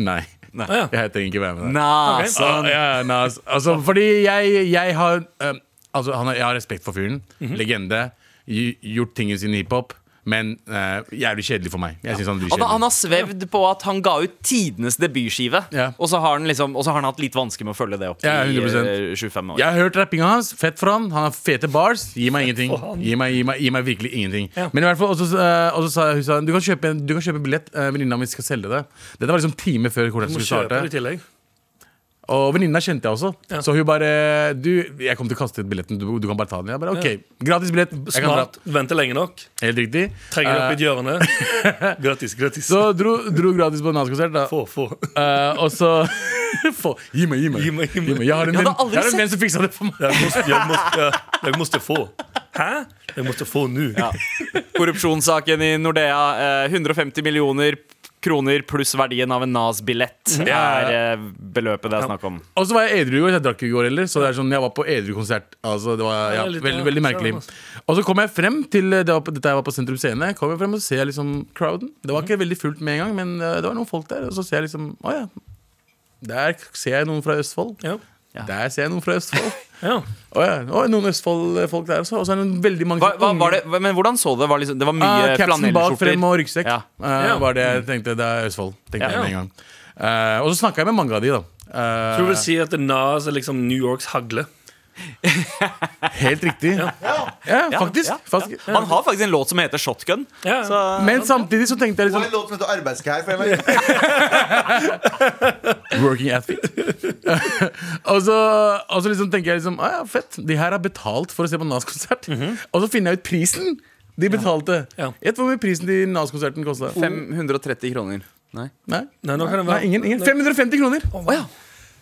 B: Nei.
E: ja.
B: Jeg trenger ikke være med der.
D: Nei,
E: Ok.
D: sånn.
B: Ja, ja, nei, altså, altså, fordi jeg, jeg har eh, Altså, han har, jeg har respekt for fyren. Legende. Gj- Gjort tingene sine i hiphop. Men eh, jævlig kjedelig for meg. Jeg synes han er
D: Han,
B: dritkjedelig.
D: han har svevd på at han ga ut tidenes debutskive,
B: Ja.
D: og, så har han liksom, og så har han hatt litt vansker med å følge det opp
B: Ja,
D: i
B: 100%.
D: eh, 25 år.
B: Jeg har hørt rappinga hans. Fett for han. Han har fete bars. Gi meg ingenting.
E: for han.
B: Gi meg, gi meg, gi meg virkelig ingenting.
E: Ja.
B: Men i hvert fall, også, eh, også sa hun sa, du kan kjøpe, en- du kan kjøpe billett. eh, Venninna mi skal selge det. Dette var liksom time før konserten
E: Må
B: skulle
E: kjøpe det i
B: starte.
E: tillegg.
B: Og venninna kjente jeg også.
E: Ja.
B: Så hun bare Du, jeg kommer til å kaste ut billetten. Du, du kan bare ta den. Jeg bare, ok, Gratis billett. Jeg kan dra.
E: Smart. Vente lenge nok.
B: Helt riktig.
E: Trenger det
B: Eh,
E: opp i et hjørne. Gratis, gratis.
B: så dro, dro gratis på Nas konsert. da
E: Få, få.
B: Eh, Og så Få- Gi meg, gi meg.
E: Gi meg, gi meg.
B: Jeg har en
D: Jeg hadde
B: venn-
D: aldri
B: jeg har en
D: sett-
B: venn som fiksa det for meg.
E: Jeg måste, jeg måste, jeg, jeg måste få. Hæ? Jeg måste få nå.
D: Korrupsjonssaken i Nordea. eh, 150 millioner kroner pluss verdien av
B: Mm.
D: en Nas-billett er eh, beløpet det er snakk om.
B: Og så var jeg edru i går. Jeg drakk ikke i går heller. Så det er sånn, jeg var på edru-konsert. Altså, det var ja,
E: Ja, litt,
B: veldig,
E: ja,
B: veldig merkelig.
E: sånn, altså.
B: Og så kom jeg frem til det var på, dette jeg var på Sentrum Scene. Kom jeg frem og ser liksom crowden. Det var ikke veldig fullt med en gang, men eh, det var noen folk der. Og så ser jeg liksom Å ja. Der ser jeg noen fra Østfold.
E: Ja.
B: Der ser jeg noen fra Østfold.
E: Ja.
B: Å ja. Å, noen Østfold-folk der også. Og så er det noen veldig mange
D: Hva, hva,
B: unge-
D: var det, hva- men hvordan så det? Var liksom, det var mye
B: Mm. Ah, Capsen bak frem
D: flanellskjorter.
B: og ryggsekk
D: Ja.
B: eh,
E: Ja.
B: var det jeg tenkte. Det er Østfold. tenkte
D: Ja.
B: jeg med en gang Eh, Og så snakka jeg med mange av de, da. Eh,
E: Så du vil si at Nas er liksom New Yorks hagle?
B: Helt riktig. Ja,
D: Ja,
B: faktisk.
D: ja,
B: faktisk.
D: ja. Han har faktisk en låt som heter Shotgun.
E: Ja.
D: Så-
B: Men samtidig så tenkte jeg
C: Det var en
B: liksom
C: låt som heter Arbeidskær. for jeg vet-
B: Working athlete. og, så, og så liksom tenker jeg liksom ah, ja, fett. De her har betalt for å se på Nas-konsert. Og så finner jeg ut prisen de betalte.
E: Mhm. Ja.
B: Gjett hvor mye prisen til Nas-konserten kosta.
D: 530 kroner. Nei.
B: Nei?
E: Nei, nå kan det være-
B: Nei, ingen, ingen. 550 kroner!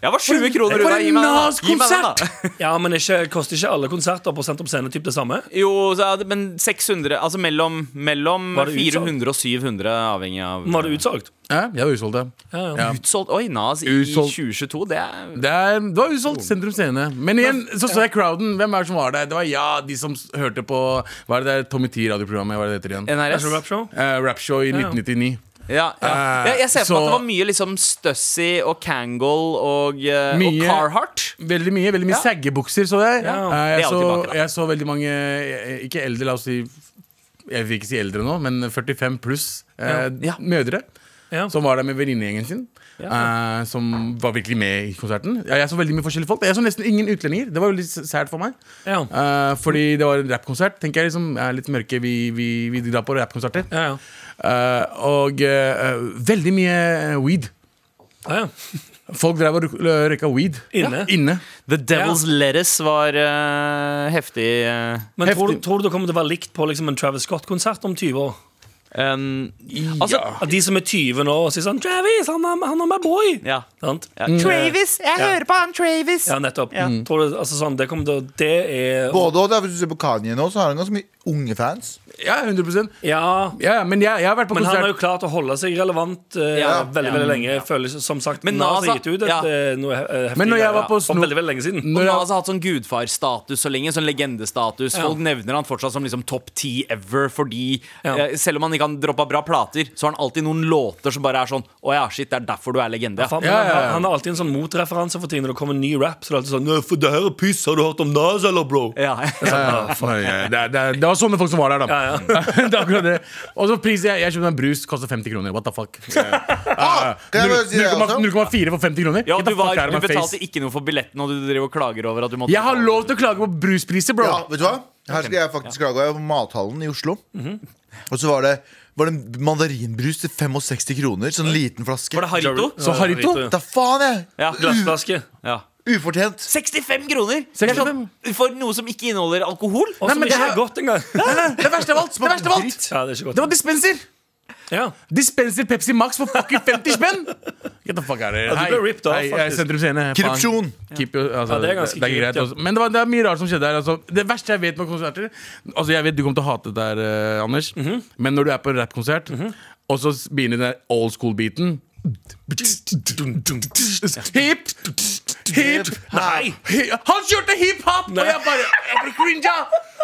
D: Jeg var 20 kroner
B: For
D: unna.
B: en
D: gi meg den da. Gi meg den da.
E: Ja, men ikke, koster ikke alle konserter på Sentrum Scene typ det samme?
D: Jo, så, er det- men 600 Altså mellom, mellom
E: Var det utsolgt?
D: 400 og 700, avhengig av
E: Var det utsolgt?
B: Ja, jeg var utsolgt, ja.
E: Ja, ja.
B: Ja.
D: Utsolgt? Oi, Nas i
B: Utsolgt.
D: 2022, det er
B: Det, er, det var utsolgt Sentrum Scene. Men igjen så så jeg crowden. Hvem er det som var der? Det var ja, de som s- hørte på Hva er det der Tommy Tee-radioprogrammet? Hva er det det heter igjen?
D: NRS.
E: National Rap Show?
B: Eh, Rapshow i 1999.
D: Ja, ja.
B: Eh,
D: jeg, jeg ser for meg
B: så-
D: at det var mye liksom Stussy og Kangol og, eh, og
B: Mye-
D: Carhartt.
B: Veldig mye. veldig mye
D: Ja.
B: Saggebukser så jeg.
E: Ja.
B: Eh,
D: Det
B: jeg,
D: er
B: så,
D: alltid bak, da.
B: jeg så veldig mange eh, Ikke eldre, la oss si Jeg vil ikke si eldre nå, men 45 pluss eh,
D: Ja.
B: mødre.
E: Ja.
B: Som var der med venninnegjengen sin. eh, som var virkelig med i konserten. Ja, jeg så veldig mye forskjellige folk. Jeg så nesten ingen utlendinger. Det var veldig s- sært for meg.
E: Ja.
B: Eh, fordi det var en rappkonsert. Tenker jeg liksom, jeg er litt mørke, vi, vi, vi drar på rappkonserter.
E: Ja, ja.
B: Eh, og eh, veldig mye eh, weed.
E: Ja, ja.
B: Folk drev og rø- røyka weed
E: Inne.
B: inne.
D: The Devil's Lettuce var eh, heftig. eh,
E: Men tror, du-
B: Heftig.
E: tror du det kommer til å være likt på liksom en Travis Scott-konsert om 20 år?
D: en- altså,
E: At de som er 20 nå, sier sånn Travis, han er, han er my boy!
D: ja.
E: Sant?
D: Ja. Travis! Jeg hører på han Travis!
E: Ja, nettopp. Tror du, altså, sånn, det, kommer til, å- det er
C: Både og, da, Hvis du ser på Kanye nå, så har han ganske mye unge fans.
B: Ja, 100
E: Ja,
B: Ja, men jeg, jeg har vært på
E: men han har jo
B: konsert.
E: klart å holde seg relevant eh,
D: Ja.
E: veldig veldig lenge. Føles, som sagt,
D: Men
E: Nas har
D: NASA-
E: gitt ut et,
D: ja.
E: eh, noe he- heftig
B: Men når jeg
E: greier
B: var på Snoop-
E: om veldig, veldig lenge siden.
D: Og
B: Når jeg-
D: Nas har hatt sånn gudfarstatus så lenge, sånn legendestatus. Folk nevner han fortsatt som liksom topp ti ever, fordi
E: Ja.
D: eh, selv om han ikke har droppa bra plater, så har han alltid noen låter som bare er sånn Å ja, shit, det er derfor du er legende.
E: Faen,
B: Ja,
E: men
B: ja, ja.
E: Han, han har alltid en sånn motreferanse for tiden når det kommer en ny rap. Så det er alltid sånn «Nei, for det her er piss, har du hørt om Nas, eller, bro?
D: Ja.
B: Ja, ja, faen, ja, det, er- det, er- det var sånne folk som var der, da. det er akkurat det. Og så priser jeg Jeg kjøpte en brus, koster 50 kroner. What the fuck?
C: Ah, kan jeg bare si det også?
B: 0,4 for 50 kroner?
D: Ja,
B: Get
D: du,
B: the
D: var,
B: fuck out of
D: du
B: my
D: betalte
B: face.
D: ikke noe for billetten, og du driver og klager over at du måtte
B: Jeg har lov til å klage på bruspriser, bro!
C: Ja, vet du hva? Her skal jeg faktisk klage. Jeg var på Mathallen i Oslo.
E: Mhm.
C: Og så var det, var det mandarinbrus til 65 kroner. Sånn liten flaske.
D: Var det Harito?
B: Så Harito
E: Harito,
C: Da faen, jeg!
D: Ja.
E: Glassflaske.
D: ja.
C: Ufortjent.
D: 65 kroner! Det er
B: 65.
D: sånn, For noe som ikke inneholder alkohol?
E: Og
B: Nei,
E: som
B: men det
E: ikke
B: her-
E: er godt engang. Ja,
B: Det verste av alt! Det verste av alt
E: det er ikke
B: Det
E: godt.
B: var dispenser!
E: Ja.
B: Dispenser Pepsi Max for fucking 50 spenn! Get the fuck out of here.
E: Ja, du ble ripped off,
B: hei, jeg
E: faktisk.
B: er sentrum scene. eh, faen.
C: Korrupsjon.
B: Keep your- altså,
E: Ja, det
B: det
E: er
B: er det
E: ganske
B: er
E: korrupt,
B: greit.
E: ja.
B: Også. Men det, var, det er mye rart som skjedde her. Altså. Det verste jeg vet med konserter Altså, Jeg vet du kommer til å hate det
E: Mhm.
B: der, eh, Anders, men når du er på en rappkonsert, og så begynner den der old school-beaten Hip, hip
E: Nei.
B: hi- Han kjørte hiphop! Og jeg bare Jeg ble cringa!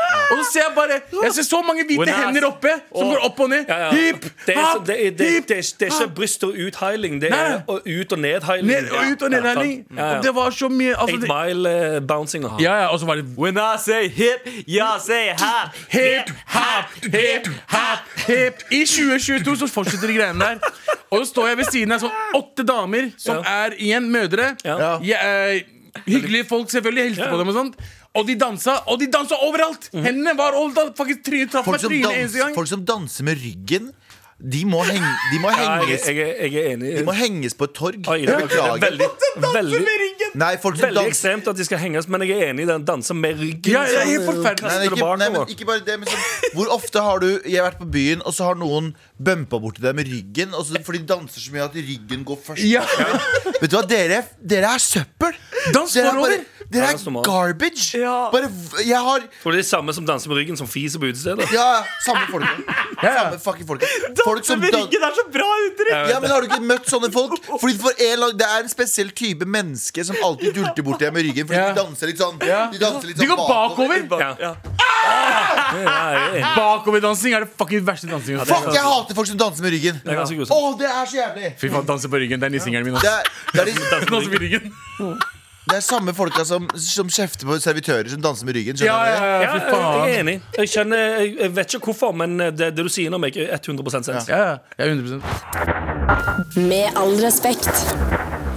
B: Og så ser jeg bare Jeg ser så mange hvite
E: When I-
B: hender oppe som
E: Åh.
B: går opp og ned.
E: Ja, ja.
B: Hip,
E: det er, så-
B: hop,
E: det, er, det,
B: hip,
E: det, er, det er ikke
B: hop.
E: bryst- og utheiling, det
B: Nei,
E: er
B: nei.
E: og ut- og nedheiling.
B: Ned og ut og ned, Erling.
E: Ja,
B: Og
E: ja.
B: Det var så mye altså,
E: Eight eh,
B: det-
E: mile-bouncing.
B: Ja, ja, og så var det
D: When I say hip, yeah, I say ha.
B: Hip, hop, hip, hop, hip I 2022 så fortsetter de greiene der Og så står jeg ved siden av sånn åtte damer Som
E: Ja.
B: er igjen mødre
E: Ja.
B: Jeg, eh, Hyggelige folk selvfølgelig Hilste
E: Ja. Mhm.
B: på dem og sånt og de dansa, og de dansa overalt Hendene var overalt, faktisk trynet traff
C: Folk
B: meg
C: som,
B: trynet eneste
C: dans,
B: gang
C: folk som danser med ryggen, de må, heng, de må
E: Ja, jeg,
C: henges
E: jeg, er- jeg er enig.
C: De må henges på et torg.
E: Oi, det er
C: Beklager.
E: veldig, veldig,
C: Nei, folk som
E: veldig
C: danser
E: ekstremt at de skal henges, men jeg er enig i den danse med ryggen.
B: Ja, ja,
E: sånn,
B: helt forferdelig.
E: kaster
C: Nei,
E: det
C: ikke, nei,
E: bakover.
C: men ikke bare det, men sånn, Hvor ofte har du Jeg har vært på byen, og så har noen bumpa borti deg med ryggen. Og så, for de danser så mye at ryggen går først.
B: Ja.
C: Vet du hva, dere, dere er søppel!
B: Dans
C: Dere er,
B: forover.
C: bare, dere
E: Ja,
C: er
E: som alt.
C: garbage!
D: Ja.
C: Bare, v- jeg har
E: For det er det samme som danser med ryggen som fiser på utestedet.
C: Ja, samme folket. Samme fucking folket. Folk som
D: Men
C: dan-
D: ryggen er så bra uttrykk!
C: ja, men Har du ikke møtt sånne folk? Fordi for en, eller annen- Det er en spesiell type menneske som alltid dulter borti deg med ryggen. Fordi
B: Ja.
C: de danser litt sånn. De, danser litt
B: De
C: sånn
B: går bakover
E: Ja.
D: Ja.
E: Ja, jeg er enig.
B: Bakoverdansing er det fucking verste dansingen
C: Fuck, jeg hater folk som danser med ryggen.
E: Det er ganske
C: Å,
E: grusomt.
C: det er så jævlig!
B: Fy faen, danse på ryggen, det er nissingeren min ass.
C: Det er, det er, de,
B: Danse på ryggen
C: det er samme folka som, som kjefter på servitører som danser med ryggen.
B: Ja,
C: Skjønner
B: ja,
C: du det?
B: ja,
E: Ja,
B: fy
E: jeg er
B: faen
E: enig. Jeg, kjenner, jeg- jeg vet ikke hvorfor, men eh, det, det du sier nå, maker 100 sens.
B: Ja, ja, jeg er 100%
F: Med all respekt.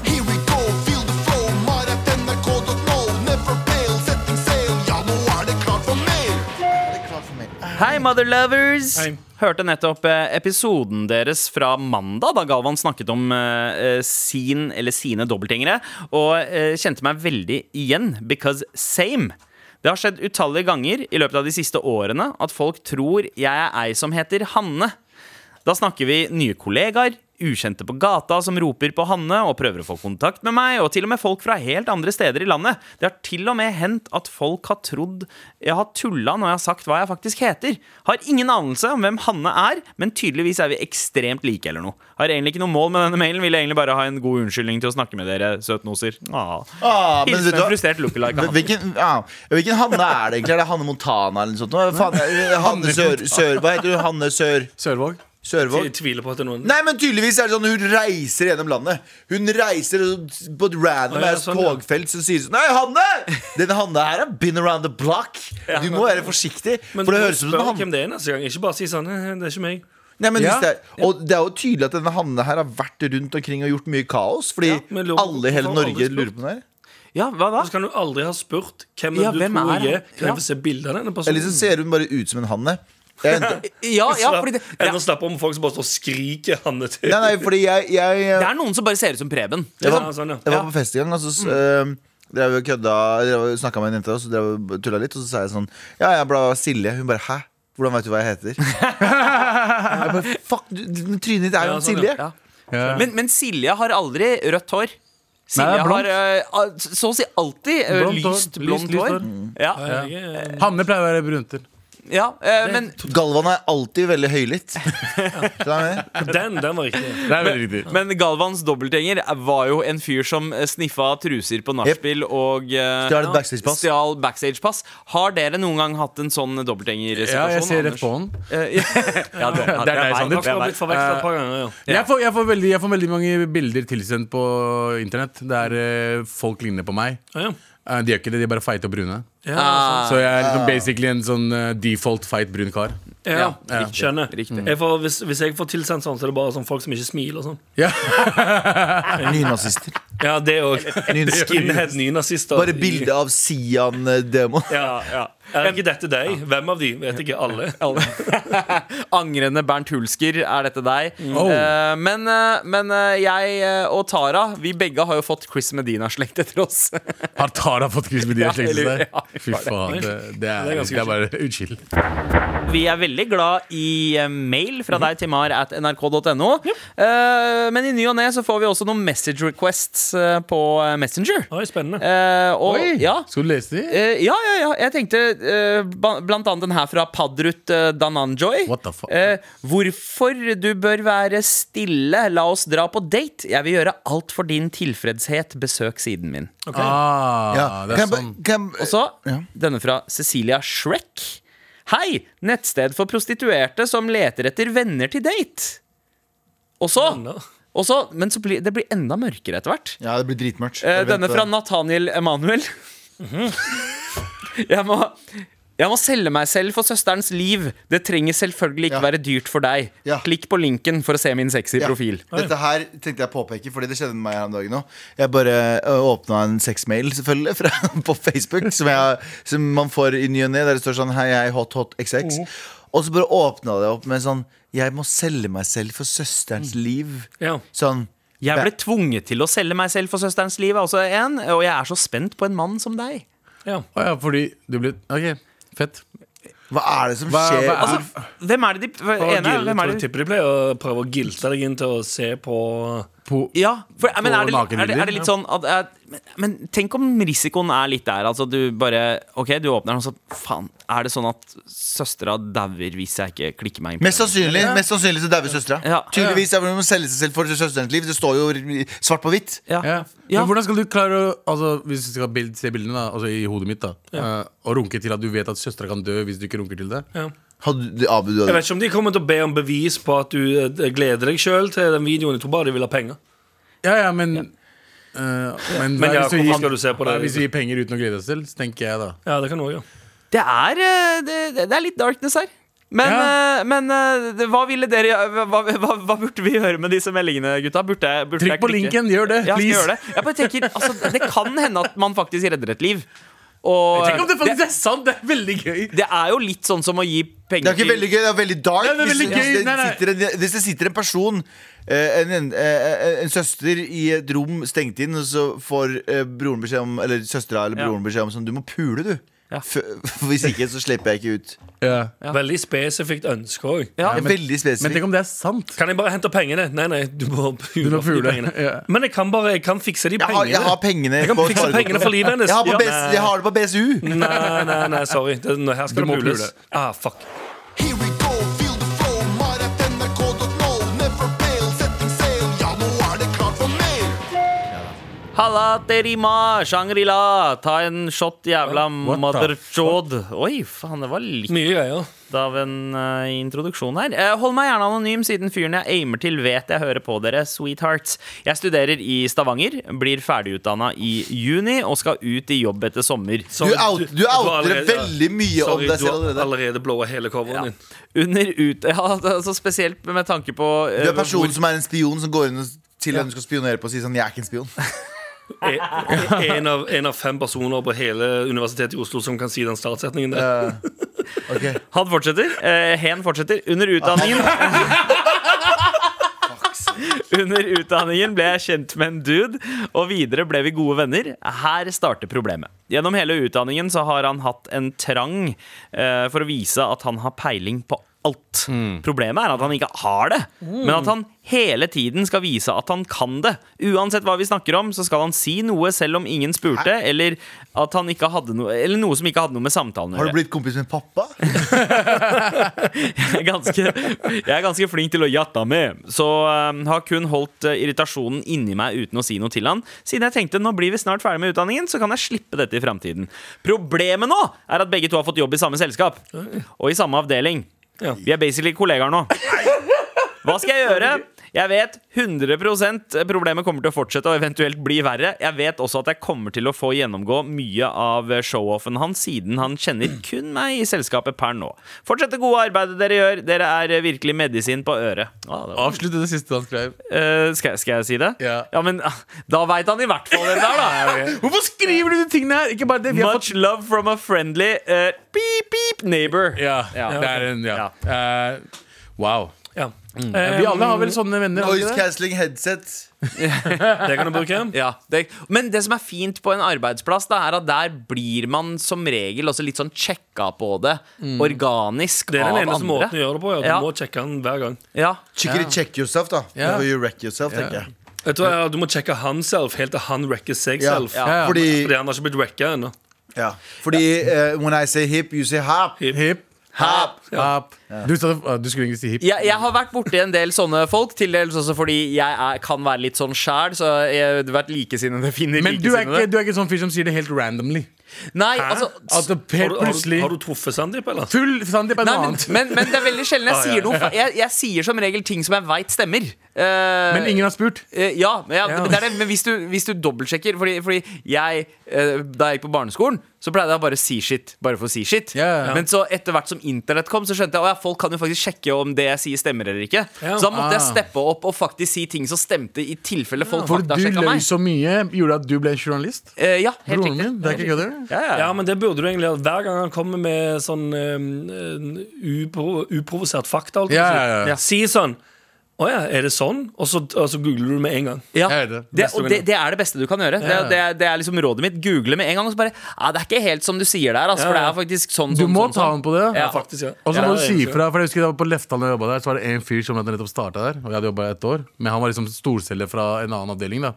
G: Here we go, feel the flow. Mar.nrk.no. Never fail, setting sail. Ja, nå er det klart for mer.
C: Det er klart for meg.
D: Hei, motherlovers!
E: Hei.
D: Hørte nettopp eh, episoden deres fra mandag, da Galvan snakket om eh, eh, sin eller sine dobbeltgjengere, og eh, kjente meg veldig igjen, because same. Det har skjedd utallige ganger i løpet av de siste årene at folk tror jeg er ei som heter Hanne. Da snakker vi nye kollegaer, ukjente på gata som roper på Hanne og prøver å få kontakt med meg, og til og med folk fra helt andre steder i landet. Det har til og med hendt at folk har trodd jeg har tulla når jeg har sagt hva jeg faktisk heter. Har ingen anelse om hvem Hanne er, men tydeligvis er vi ekstremt like eller noe. Har egentlig ikke noe mål med denne mailen, vil egentlig bare ha en god unnskyldning til å snakke med dere, søtnoser. Ah.
C: Ah, men vet
D: Hilsen
C: du hva?
D: en frustrert lookalike. Hanne.
C: Hvilken, ja, hvilken Hanne er det egentlig? Er det Hanne Montana eller noe sånt? Hva faen, eh, Hanne Sør... Sør hva heter du? Hanne Sør...
B: Sørvåg
C: Sørvåg?
E: Jeg tviler på at det er noen
C: Nei, men tydeligvis er det sånn hun reiser gjennom landet. Hun reiser på et random
E: Å, ja,
C: ass
E: sånn, ja.
C: togfelt som sier sånn Nei, Hanne! Denne Hanne her har been around the block. Du må være forsiktig.
E: Men
C: for det
E: du
C: høres ut som
E: spør
C: en Hanne.
E: hvem det er neste gang. Ikke bare si sånn «Eh, Det er ikke meg.
C: Nei, men
B: Ja.
C: hvis det er, og det er jo tydelig at denne Hanne her har vært rundt omkring og gjort mye kaos. Fordi
E: Ja, men lurer på
C: alle i hele
E: hvorfor har
C: Norge
E: alle spurt?
C: lurer på det her.
D: Ja, hva da?
E: Så kan du aldri ha spurt hvem
D: Ja,
E: du
D: hvem
E: tror
D: er
E: jeg
D: han?
E: er. Kan
D: Ja.
E: jeg få se bilde av denne personen?
C: Eller så ser hun bare ut som en Hanne. Jeg, nei,
D: Ja, ja,
E: Slapp-
D: fordi det,
E: Enn
D: ja,
E: å slappe om folk som bare står og skriker Hanne til.
C: nei, fordi jeg, jeg,
D: det er noen som bare ser ut som Preben.
E: Ja,
C: var-
E: sånn,
C: Jeg
E: ja. Mm.
C: var på fest i gang, og så s- eh, drev vi og kødda drev og Snakka med en jente, og så drev vi og tulla litt. Og så sa jeg sånn Ja, jeg ble Silje. Hun bare Hæ? Hvordan veit du hva jeg heter? jeg bare, Fuck, du, du- trynet ditt er jo
E: Ja,
C: en
E: sånn,
C: Silje.
D: Ja. Men, men Silje har aldri rødt
B: Eh.
D: hår.
B: Nei, det
D: Silje
B: er blondt.
D: har eh, al- så å si alltid eh,
B: Blondt hår.
D: lyst
B: Lyst,
D: blondt
B: lyst
D: hår.
B: hår. Mm.
D: Ja,
E: Jeg er-
B: Hanne pleier å være brunter
D: ja, eh, men
C: Galvan er alltid veldig høylytt. Skjønner du?
E: Den, den var riktig.
B: Det er veldig riktig
D: men Galvans dobbeltgjenger var jo en fyr som eh, sniffa truser på nachspiel og eh,
C: Stjal et backstagepass.
D: stjal backstage-pass. Har dere noen gang hatt en sånn dobbeltgjengersituasjon?
B: Ja, jeg ser
D: Anders?
B: rett på den
D: Eh, ja, det, ja,
B: Det er deg,
D: meg,
B: Sander.
E: Takk for å ha
D: meg.
E: blitt forvekslet et par ganger. Ja.
B: Jeg får, jeg, får veldig, jeg får veldig mange bilder tilsendt på internett der eh, folk ligner på meg.
E: Ja, ja.
B: Eh, de gjør ikke det, de er bare feite og brune.
E: Ja,
D: Ah.
B: Så jeg er liksom basically en sånn eh, default feit brun kar.
E: altså. ja,
B: ja.
E: riktig, skjønner.
D: Riktig.
E: Jeg får, hvis, hvis jeg får tilsendt sånn, så er det bare sånn folk som ikke smiler og sånn.
B: Ja.
C: Nynazister.
E: Ja, det òg. Skinhead nynazister.
C: Bare bilde av Sian-demo.
E: Ja, ja. Er ikke dette deg? Hvem av de? Vet ikke alle.
D: Angrende Bernt Hulsker, er dette deg?
B: Oh.
D: Eh, men eh, men eh, jeg eh, og Tara, vi begge har jo fått Chris Medina-slekt etter oss.
B: Har Tara fått Chris Medina
D: Ja,
B: slengelse
D: eller-
B: der?
D: ja,
B: Fy faen, det, det, er,
E: Det er
B: det,
E: ganske
B: er bare utskill.
D: Vi er veldig glad i eh, mail
B: Mhm.
D: fra deg til mar at nrk.no. Eh, men i ny og ne så får vi også noen message requests eh, på eh, Messenger.
E: Oi, spennende.
D: Eh, og,
B: Oi!
D: Ja,
B: Skal du lese de?
D: Eh, ja, ja, ja. Jeg tenkte eh, ba- blant annet den her fra Padrut eh, Dananjoy.
B: What the fuck?
D: Eh, hvorfor du bør være stille. La oss dra på date. Jeg vil gjøre alt for din tilfredshet. Besøk siden min.
B: Ah,
C: Ja.
B: det er
C: Kan jeg ba-
B: sånn.
C: kan jeg-
D: Og så
C: Ja.
D: denne fra Cecilia Shrek. Hei! Nettsted for prostituerte som leter etter venner til date. Og så,
E: Venner?
D: og så Men så blir, det blir enda mørkere etter hvert.
C: ja, det blir dritmørkt.
D: Eh,
C: Jeg
D: denne
C: venter. Mhm.
D: fra Nathaniel Emanuel. jeg, må, jeg må selge meg selv for søsterens liv. Det trenger selvfølgelig ikke
C: Ja.
D: være dyrt for deg.
C: Ja.
D: Klikk på linken for å se min sexy
C: Ja.
D: profil.
C: Dette her tenkte jeg påpeke, fordi det skjedde med meg her om dagen òg. Jeg bare ø, åpna en sexmail, selvfølgelig, fra, på Facebook, som, jeg, som man får i ny og ne, der det står sånn Hei, hei, hot, hot XX. Og så bare åpna det opp med sånn Jeg må selge meg selv for søsterens liv.
E: Ja.
C: Sånn
D: Jeg ble tvunget til å selge meg selv for søsterens liv, er også en, og jeg er så spent på en mann som deg.
E: Ja.
B: Å ja, fordi du blir OK, fett.
C: Hva er det som
B: Hva-
C: skjer?
B: hva er-
D: Altså, hvem er det de hva-
E: Og
D: ene, er-
E: Gil,
D: hvem er
E: tror
D: det?
E: du tipper de pleier å prøve å gilte deg inn til å se på
B: Po
D: Ja, for, men er det,
B: På
D: er, det, er det litt sånn at eh, men, men tenk om risikoen er litt der. Altså du bare Ok, du åpner den, og så faen. Er det sånn at søstera dauer hvis jeg ikke klikker meg inn? på
C: Mest sannsynlig, mest sannsynlig så dauer søstera.
D: Ja.
C: Tydeligvis er det noe med å selge seg selv for søsterens liv. Det står jo svart på hvitt.
D: den? Ja.
B: ja.
D: Ja.
B: Men hvordan skal du klare å altså, Hvis du skal bild, se bildene da, altså, i hodet mitt, da eh, og runke til at du vet at søstera kan dø hvis du ikke runker til det
C: Hadde du- Abu, du
E: Jeg
C: hadde
E: vet ikke om de kommer til å be om bevis på at du eh, gleder deg sjøl til den videoen. Jeg tror bare de vil ha penger.
B: Ja, ja, men eh, men,
E: Men
B: hva-
E: ja,
B: hvis, vi
E: hvorfor
B: gir,
E: skal du se på
B: hva
E: det?
B: hvis vi gir penger uten å glede oss til, så tenker jeg da
E: Ja, det kan du også gjøre.
D: Det er, eh, det, det det er litt darkness her. Men,
B: Ja.
D: eh, men eh, det- hva ville dere gjøre- hva, hva, hva burde vi gjøre med disse meldingene, gutta? Burde, jeg- burde
B: Trykk
D: jeg
B: på
D: klikke?
B: linken, gjør det,
D: Ja, skal jeg
B: please.
D: gjøre det. Jeg bare tenker, altså, det kan hende at man faktisk redder et liv. Og
B: Tenk om det
D: det,
B: faktisk er sant! Det er veldig gøy!
D: det er jo litt sånn som å gi
C: Det
D: penger
C: er ikke veldig gøy, det er veldig dark.
B: Ja, det er veldig
C: hvis,
B: gøy.
C: hvis,
B: Nei, nei.
C: det sitter en, hvis det sitter en person, eh, en, en, eh, en søster, i et rom stengt inn, og så får eh, broren beskjed om Eller søstera eller
D: Ja.
C: broren beskjed om sånn Du må pule, du.
D: Ja.
C: F hvis ikke, så slipper jeg ikke ut.
B: Ja.
E: Veldig spesifikt ønske òg.
D: Ja,
C: Det er
D: men,
C: veldig
B: Men
C: spesifikt.
B: tenk om det er sant!
E: Kan jeg bare hente pengene? Nei, nei, du må pule
B: må
E: for de
B: pule,
E: pengene.
B: ja.
E: Men jeg kan bare jeg kan fikse de
C: Jeg har,
E: pengene.
C: jeg har pengene
E: Jeg kan
C: på
E: fikse
C: sparekontoen.
E: pengene for livet hennes.
C: Jeg har, på
E: Ja. Mm.
C: BS, jeg har det på BSU.
E: Nei, nei, nei, sorry. Det, nå, her skal
B: Du
E: det
B: må
E: pules.
B: pule.
E: Ah, fuck.
G: Here we go, feel the flow, maratnrk.no. Never fail, setting sail, ja, nå er det klart for mer.
D: Halla, terima, Shangri-La, ta en shot, jævla
B: the
D: motherchod. Oi, faen, det var litt
E: Mye greier.
D: av en eh, introduksjon her. Eh, hold meg gjerne anonym, siden fyren jeg aimer til, vet jeg hører på dere, sweethearts. Jeg studerer i Stavanger, blir ferdigutdanna i juni og skal ut i jobb etter sommer.
E: Sorry,
C: Du out- du
E: har
C: outer
E: allerede-
C: veldig mye om
E: sorry,
C: deg selv
E: Du
C: allerede.
E: har allerede blåa hele coveren din.
D: Under ut... Ja, altså spesielt med tanke på eh,
C: Du er personen som er en spion som går inn og- til en du skal spionere på og sier sånn Jeg er ikke en spion.
E: En- En av, en av fem personer på hele Universitetet i Oslo som kan si den startsetningen der.
C: Eh, ok.
D: hvor- Han fortsetter. Eh, hen fortsetter. Under utdanningen Under utdanningen ble jeg kjent med en dude, og videre ble vi gode venner. Her starter problemet. Gjennom hele utdanningen så har han hatt en trang eh, for å vise at han har peiling på alt.
C: Mm.
D: Problemet er at han ikke har det, men at han hele tiden skal vise at han kan det. Uansett hva vi snakker om, så skal han si noe selv om ingen spurte, eller, at han ikke hadde noe, eller noe som ikke hadde noe med samtalen å
C: Har
D: gjøre.
C: du blitt kompis med pappa?
D: Jeg er ganske, jeg er ganske flink til å jatta med, så eh, har kun holdt eh, irritasjonen inni meg uten å si noe til han, siden jeg tenkte nå blir vi snart ferdig med utdanningen, så kan jeg slippe dette i framtiden. Problemet nå er at begge to har fått jobb i samme selskap, og i samme avdeling.
E: Ja.
D: Vi er basically kollegaer nå. Hva skal jeg gjøre? Jeg vet 100 problemet kommer til å fortsette og eventuelt bli verre. Jeg vet også at jeg kommer til å få gjennomgå mye av showoffen hans, siden han kjenner kun meg i selskapet per nå. Fortsett det gode arbeidet dere gjør. Dere er virkelig medisin på øret. Ah, det var-
B: Avslutt det siste han skrev.
D: Eh, skal, jeg- skal jeg si det?
B: Ja.
D: men ah, da veit han i hvert fall det der, da.
B: Hvorfor skriver du de tingene her?! Ikke bare det, vi har fått
D: Much love from a friendly eh, beep beep neighbor.
B: Ja,
D: Ja,
B: det er en Ja. Eh, wow.
E: Ja.
B: Vi alle har vel sånne venner? har vi
C: Noise
B: ikke det?
C: cancelling headset.
E: Det kan du bruke.
D: Ja, det, men det som er fint på en arbeidsplass, da, er at der blir man som regel også litt sånn sjekka på det. Organisk
E: Mm. Det er
D: av
E: den
D: andre.
E: eneste måten å gjøre det på. Ja. Du
D: Ja.
E: må sjekke den hver gang.
D: Ja.
C: Skikkelig check yourself, da.
B: Ja.
C: Before you wreck yourself, tenker jeg.
E: Vet du, hva, ja, du må sjekke han selv helt til han wrecker seg
C: Ja.
E: selv.
C: Fordi
E: Fordi han har ikke blitt wrecka ennå.
C: Ja. Fordi eh, when I say hip, you say hop.
B: Hip.
C: Hap.
B: Hap. Du, sa- ah, du skulle egentlig si hip.
D: Jeg, jeg har vært borti en del sånne folk, til dels også fordi jeg er, kan være litt sånn sjæl. Så jeg har vært likesinnede finner
B: Men du er, ikke,
D: likesinnede.
B: du er ikke sånn fyr som sier det helt randomly.
D: Nei, altså
B: At det helt
E: Har du, har, du,
B: plutselig
E: har du truffet Sandeep, eller?
B: Full Sandeep er
D: Nei,
B: noe
D: men,
B: annet.
D: men, men det er veldig sjelden jeg
E: Ah, ja,
D: sier noe fa- jeg, jeg sier som regel ting som jeg veit stemmer. Eh,
B: Men ingen har spurt.
D: eh, Ja, men ja,
B: Ja.
D: men Det er det, men hvis du, hvis du dobbeltsjekker Fordi, fordi jeg, eh, da jeg gikk på barneskolen, så pleide jeg å bare si shit bare for å si shit.
B: Ja, ja.
D: Men så etter hvert som internett kom, så skjønte jeg at folk kan jo faktisk sjekke om det jeg sier, stemmer eller ikke.
E: Ja.
D: Så da måtte jeg
B: Ah.
D: steppe opp og faktisk si ting som stemte, i tilfelle folk
B: For
D: fakta
B: du
D: sjekka
B: løy
D: meg.
B: så mye, gjorde at du ble journalist.
D: Eh, ja, helt
B: Broren
D: riktig.
B: min. Det er ikke kødder.
D: Ja, ja.
E: Ja, men det burde du egentlig gjøre. Hver gang han kommer med sånn ehm, en upro uprovosert fakta, holdt jeg på å
B: Ja, ja, ja.
E: si.
B: Ja.
E: si sånn Å ja, er det sånn? Og så, og så googler du med en gang.
D: Ja,
B: Jeg vet det.
D: det,
E: Beste
D: og
E: å
D: det,
E: vinne.
D: det er det beste du kan gjøre. Det,
B: Ja.
D: det, er- det er liksom rådet mitt. Google med en gang. Og så bare ja, Det er ikke helt som du sier der. Altså,
E: Ja,
D: For det
E: ja.
D: er faktisk sånn,
B: Du
D: sånn,
B: må
D: sånn,
B: ta
D: sånn.
B: ham på det.
D: Ja.
E: Faktisk, ja.
B: Og så
E: Ja,
B: må du
E: det er
B: si
E: egentlig-
B: ifra. For jeg husker da jeg var på Leftal når jeg jobbet der, så var det en fyr som nettopp startet der. Og jeg hadde jobbet et år. Men han var liksom storselger fra en annen avdeling. da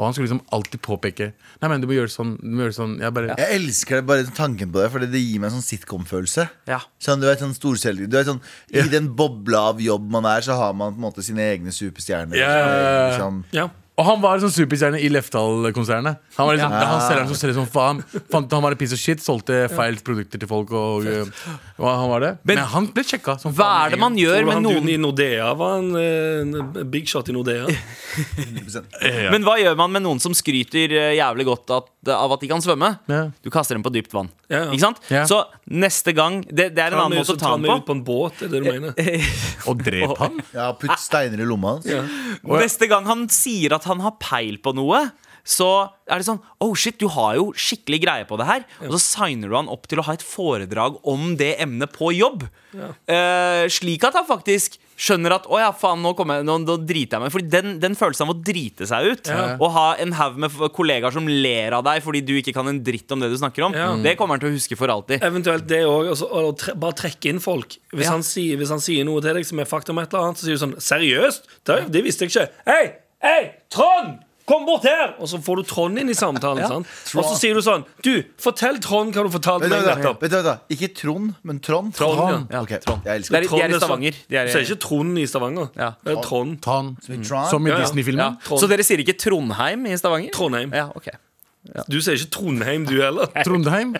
B: Og han skulle liksom alltid påpeke Nei, men du må gjøre sånn. Du må gjøre sånn. Jeg bare
C: Jeg elsker det, bare tanken på det, Fordi det gir meg en sånn sitcom-følelse.
D: Ja.
C: Sånn, du vet, sånn storselger Du vet, sånn, I den bobla av jobb man er, så har man på en måte sine egne superstjerner.
B: Ja, ja, ja, ja.
C: Liksom.
E: Ja.
B: Og han var en sånn superstjerne i Leftal-konsernet. Han var liksom, han selgeren som selger som faen. Fant, han var en piece of shit, solgte feil produkter til folk. Og, og han var det Men, han ble sjekka som
D: Hva er det man
E: Tror
D: gjør
E: du
D: med
E: han duden
D: noen
E: i Nordea var en, eh, en big shot i Nordea?
B: Ja.
D: Men hva gjør man med noen som skryter eh, jævlig godt at, av at de kan svømme?
B: Ja.
D: Du kaster dem på dypt vann.
E: Ja, ja.
D: Ikke sant?
B: Ja.
D: Så neste gang Det, det er en
E: Han
D: annen
E: er jo
D: måte
E: som
D: å ta
E: tar
D: den
E: meg ut
D: på.
E: på en båt, er det du mener?
B: Og drep han?
C: Ja, putt steiner i lomma hans.
E: Ja.
D: Neste gang han sier at han har peil på noe, så er det sånn Oh shit, du har jo skikkelig greie på det her. Og så signer du han opp til å ha et foredrag om det emnet på jobb. Eh, slik at han faktisk skjønner at å ja, faen, nå, kommer jeg, nå, nå driter jeg meg. Fordi den, den følelsen av å drite seg ut, og ha en haug med f- kollegaer som ler av deg fordi du ikke kan en dritt om det du snakker om,
E: Ja. Eh,
D: det kommer han til å huske for alltid.
E: Eventuelt det òg. Altså, å tre, bare trekke inn folk. Hvis,
D: Ja.
E: han sier, hvis han sier noe til deg som er fakta om et eller annet, så sier du sånn Seriøst? Det, det visste jeg ikke. Hei! Hei! Trond! Kom bort her! Og så får du Trond inn i samtalen. sant? Og så sier du sånn Du, fortell Trond hva du fortalte
C: Vent,
E: meg
C: vent, vent,
E: nettopp.
C: vent, vent, vent. Ikke Trond, men Trond.
E: Trond,
D: ja.
C: Ok,
D: Trond.
C: Jeg
D: Det
C: elsker
D: er, de er
C: Trond.
E: Trond er
D: i
E: så-
D: Stavanger. De er,
E: Så er det ikke Trond i Stavanger.
D: Ja.
E: Det er Trond.
B: Ta han.
C: Som i Tron?
B: Som i
E: Ja, ja.
D: ja.
B: Disney-filmen?
E: Trond.
D: Så dere sier ikke Trondheim i Stavanger?
E: Trondheim.
D: Ja, ok
E: Du sier ikke Trondheim, du heller.
B: Trondheim?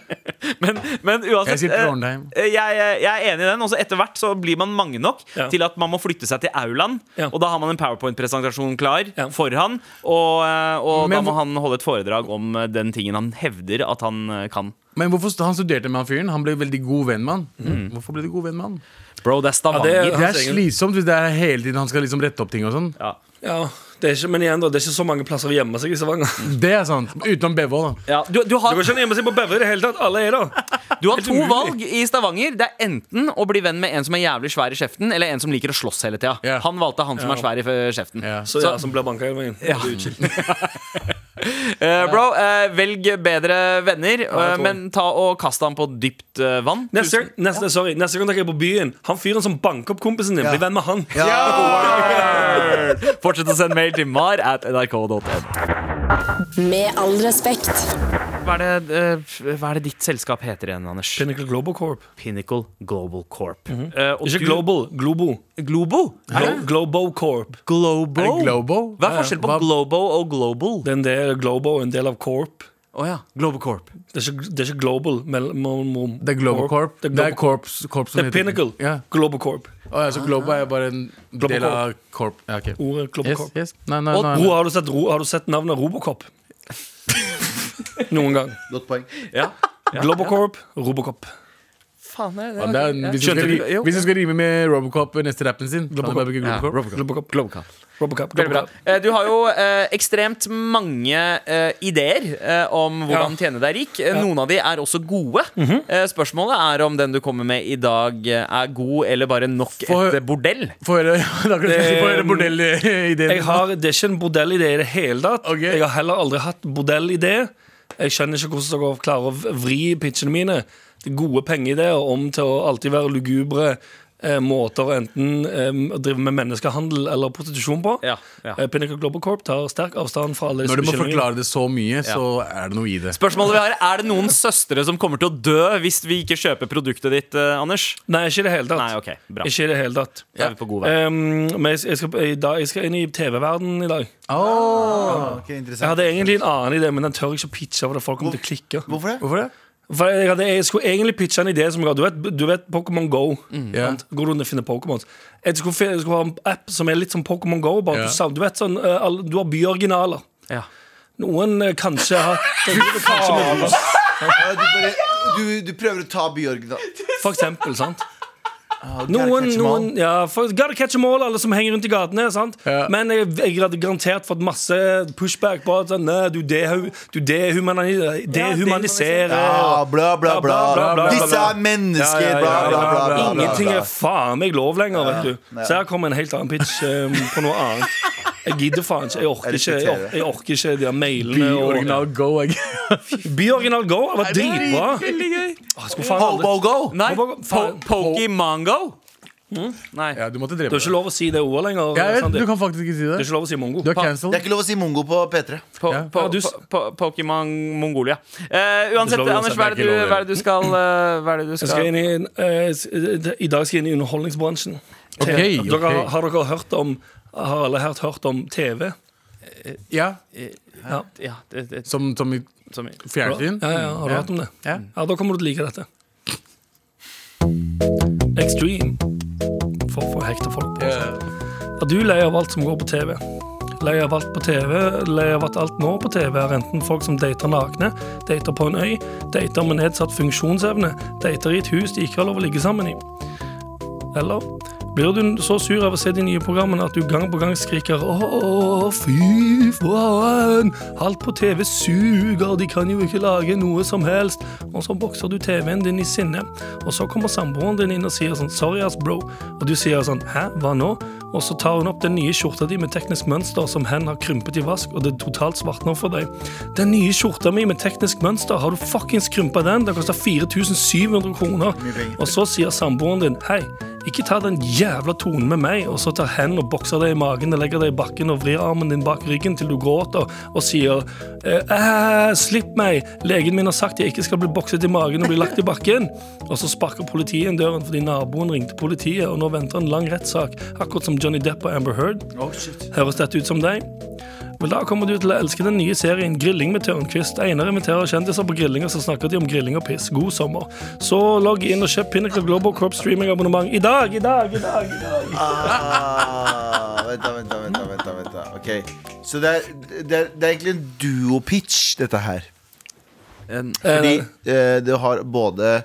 D: Men, men uansett
B: Jeg sier
D: eh,
B: Trondheim.
D: eh, jeg, jeg er enig i den. Og så etter hvert så blir man mange nok
E: Ja.
D: til at man må flytte seg til aulaen.
E: Ja.
D: Og da har man en powerpoint-presentasjon klar
E: Ja.
D: for han. Og, eh, og
B: Men
D: da må
B: hvor-
D: han holde et foredrag om eh, den tingen han hevder at han eh, kan.
B: Men hvorfor st- han studerte med han fyren? Han ble veldig god venn med han.
D: Mm.
B: Hvorfor ble du god venn med han?
D: Bro, det er Stavanger.
E: Ja, det
B: Det er
E: egen-
B: slitsomt hvis det er hele tiden han skal liksom rette opp ting og sånn.
D: Ja.
E: Ja, det er ikke, Men igjen, da, det er ikke så mange plasser å gjemme seg i Stavanger.
B: Det er sant. Utenom Bevold, da.
D: Ja, du, du,
E: Det
D: har,
E: går ikke an å gjemme seg på Beverly i det hele tatt. Alle er der.
D: du har
E: Helt
D: to
E: umulig.
D: valg i Stavanger. Det er enten å bli venn med en som er jævlig svær i kjeften, eller en som liker å slåss hele tida.
B: Ja.
D: Han valgte han som er svær i eh, kjeften.
B: Ja.
E: Så, ja, som blir banka hele veien. Ja.
D: Eh, bro, eh, velg bedre venner, eh,
E: jeg tror
D: men ta og kast ham på dypt eh, vann.
E: Neste, gang- neste, sorry, neste gang dere er på byen, han fyren som banker opp kompisen din, bli venn med han.
D: Fortsett å sende mail til mar at nrk.no.
F: Med all respekt.
D: Hva, er det, eh, f- hva er det ditt selskap heter igjen, Anders?
E: Pinnacle Global Corp.
D: Pinnacle Global Corp. Eh, og
E: Mhm. Ikke
D: du-
E: Global, Globo.
D: Globo? Ah,
E: Glo Globo Corp.
D: Globo?
B: Er det Globo?
D: Hva er forskjellen på
B: Hva-
D: Globo og Global?
E: Det er en del av Globo og en del av Corp.
D: Å ja. Global Corp.
E: Det er ikke, det er ikke Global. mell- mom- mom-
B: Det er Global Corp.
E: Det er,
B: Det er
E: Global-
B: Corps, Corps som
E: det er Pinnacle.
B: Ja.
E: Global Corp.
B: Å, ja, så Globo er bare en del av Corp. Ja, ok.
E: Ordet
B: Yes,
E: Global
B: nou,
E: Corp. dus
B: yes. Nei, nei,
D: Og
B: nei,
E: Bro,
B: nei.
E: har du sett, ro- har du sett navnet Robocop? Noen gang.
C: Godt poeng.
D: Ja.
E: Global Corp, Robocop.
D: Faen, jeg,
B: Ja, det er, hvis, du skal,
D: Skjønte du?
B: ri-
D: Jo.
B: hvis du skal rime med Robocop neste rappen sin, kan du bare bruke
D: Ja,
B: Global Corp.
E: Globocop.
D: Global Corp.
E: Robocop.
D: Veldig bra.
E: Globocop.
D: Eh, Du har jo eh, ekstremt mange eh, ideer eh, om hvordan
E: Ja. Mhm.
D: tjene deg rik. Eh, Noen av de er også gode. Eh, Spørsmålet er om den du kommer med i dag, eh, er god eller bare nok
B: For-
D: et eh, bordell.
B: Få høre, da kan du si, få høre bordellideen.
E: Jeg har, det er ikke en bordellidé i det hele tatt.
B: Ok.
E: Jeg har heller aldri hatt bordellidé. Jeg skjønner ikke hvordan dere klarer å vri pitchene mine. Det er gode pengeideer om til å alltid være lugubre, eh, måter å enten eh, å drive med menneskehandel eller prostitusjon på.
D: Ja, ja.
E: Eh, Pinnacle Global Corp tar sterk avstand fra alle
B: Når
E: disse
B: du må
E: beskyldningene.
B: forklare det så mye, så er det noe i det.
D: Spørsmålet vi har, Er det noen søstre som kommer til å dø hvis vi ikke kjøper produktet ditt, eh, Anders?
E: Nei, ikke i det hele tatt.
D: Nei, ok, bra.
E: Ikke i det hele tatt.
D: Da er vi på god vei.
E: Eh, men jeg, jeg, skal, i dag- jeg skal inn i TV-verdenen i dag.
C: Ok,
D: Altså-
C: interessant.
E: Jeg hadde egentlig en annen idé, men den tør jeg ikke å pitche. For det folk kommer til å klikke
C: Hvorfor det?
B: Hvorfor det?
E: For jeg, hadde, jeg skulle egentlig pitche en idé som jeg hadde. Du vet, du vet Pokémon Go.
B: Ja.
E: sant? Går du rundt og finner Pokémons. Jeg skulle, fi- jeg skulle ha en app som er litt som Pokémon Go. Bare
B: Ja.
E: du, sam- du vet sånn, eh, alle- Du har byoriginaler.
D: Ja.
E: Noen eh, kanskje har de driver kanskje med rus,
C: Ja, Du, bare, du, du prøver å ta Bjørg, da.
E: for eksempel. sant?
C: Gotta
E: Noen,
C: catch 'em all.
E: noen ja, for, Gotta catch them all, alle som henger rundt i gatene. sant?
B: Ja.
E: Men jeg, jeg hadde garantert fått masse pushback på at sånn, nei, du, dehu, du dehumani- dehumaniserer.
C: Ja, bla, bla,
E: Bla, bla,
C: bla.
E: bla, bla, bla.
C: Disse er mennesker,
E: Ja, ja, ja,
C: bla, bla,
E: ja,
C: bla. bla, bla,
E: Ingenting
C: bla.
E: er faen meg lov lenger, vet du. Så her kommer en helt annen pitch eh, på noe annet. Jeg gidder faen ikke. Jeg orker ikke, jeg orker, jeg orker ikke de der mailene. og-
B: Original go, jeg.
E: Byoriginal Go det var dritbra. Åh, jeg skulle faen aldri
C: Hobo go!
D: Nei,
E: Hva- hva-
D: po
E: faen.
D: Pokémongo? Mm. Nei.
B: Ja, du måtte drepe
E: Det er ikke lov å si det ordet lenger.
B: Jeg vet,
E: Sandeep.
B: sånn. du kan faktisk ikke si
E: det er
B: det.
E: ikke lov å si mongo.
B: Du er
C: Det
B: cancelled.
C: er ikke lov å si mongo på P3.
D: Po
B: Ja.
D: po
E: Ja, du s-
D: po po Pokémon Mongolia. Eh, uansett,
E: Det er ikke lov,
D: Anders,
E: uansett.
D: hva er det du,
B: Det er ikke lov,
D: hva er det du skal eh, Hva er det du
E: Jeg skal
D: skal
E: inn i, en, eh, s- eh, I dag skal jeg inn i underholdningsbransjen.
B: Ok,
E: Te-
B: ok.
E: Dere, har dere hørt om Har alle her hørt om TV?
B: Ja,
D: ja, det, det,
B: som, som i
D: som,
B: fjernsyn.
E: Ja, ja, har du hørt om det?
B: Ja.
E: Ja, da kommer du til å like dette. Extreme. For å få hekta folk på. Er du lei av alt som går på TV? Lei av alt på TV, lei av at alt nå på TV er enten folk som dater nakne, dater på en øy, dater med nedsatt funksjonsevne, dater i et hus de ikke har lov å ligge sammen i. Eller blir du så sur av å se de nye programmene at du gang på gang skriker Å, fy faen! Alt på TV suger, de kan jo ikke lage noe som helst. Og så bokser du TV-en din i sinne, og så kommer samboeren din inn og sier sånn Sorry, ass, bro. Og du sier sånn Hæ, hva nå? Og så tar hun opp den nye skjorta di med teknisk mønster som hen har krympet i vask, og det totalt svartner for deg. Den nye skjorta mi med teknisk mønster, har du fuckings krympa den? Den koster 4700 kroner. Og så sier samboeren din Hei. Ikke ta den jævla tonen med meg, og så tar hen og bokser deg i magen og legger deg i bakken og vrir armen din bak ryggen til du gråter og sier eh, «Æ, Slipp meg! Legen min har sagt jeg ikke skal bli bokset i magen og bli lagt i bakken. Og så sparker politiet inn døren fordi naboen ringte politiet, og nå venter en lang rettssak, akkurat som Johnny Depp og Amber Heard. Høres dette ut som deg? Vel, da kommer du til å elske den nye serien Grilling med Tørnquist. Einar inviterer kjendiser på grillinger, så snakker de om grilling og piss. God sommer. Så logg inn og kjøp Pinnacle Global Corp streamingabonnement i dag, i dag, i dag! i dag
C: Ah, vent, da, vent, da, vent, da, vent, da, vent da. Ok. Så det er, det, er, det er egentlig en duo-pitch, dette her. Fordi eh, det har både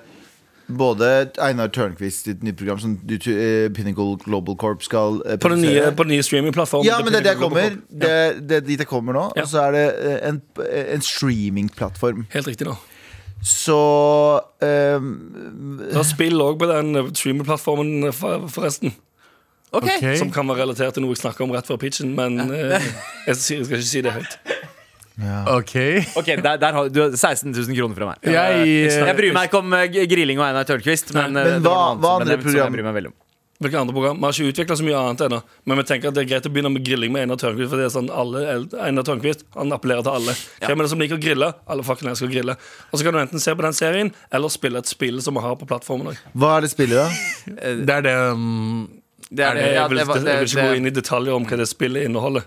C: både Einar Tørnquist sitt nye program som du, eh, Pinnacle Global Corp skal eh,
E: På den nye,
C: produsere.
E: på den nye streamingplattformen.
C: Ja, men det er det jeg
E: Pinnacle Global
C: kommer.
E: Corp.
C: Det er det er dit jeg kommer nå.
E: Ja.
C: Og så er det eh, en, en streamingplattform.
E: Helt riktig. da
C: Så eh,
E: Det er spill òg på den eh, streamingplattformen, eh, for- forresten.
B: Ok.
E: Som kan være relatert til noe jeg snakker om rett før pitchen, men eh, jeg skal jeg skal ikke si det høyt.
B: Ok.
D: Ok, der, der har du har 16 000 kroner fra meg.
B: Jeg, eh,
D: jeg bryr meg ikke om eh, grilling og Einar Tørnquist. Men, eh,
C: Men
D: det var
C: hva-
D: noe annet
C: hva
D: som-
C: andre
D: men det- som
C: program-
D: Jeg bryr meg veldig om.
E: Hvilke andre program? Vi har ikke utvikla så mye annet ennå. Men vi tenker at det er greit å begynne med grilling med Einar Tørnquist. For det er sånn alle, Einar Tørnquist han appellerer til alle. Hvem er det som liker å grille? Alle fucking elsker å grille. Og så kan du enten se på den serien, eller spille et spill som vi har på plattformen òg.
C: hva er det spillet, da?
B: Det er det um,
D: Det er, det, ja,
E: Jeg vil
D: det, var-
E: jeg vil ikke gå
D: det,
E: inn i detaljer om hva det spillet inneholder.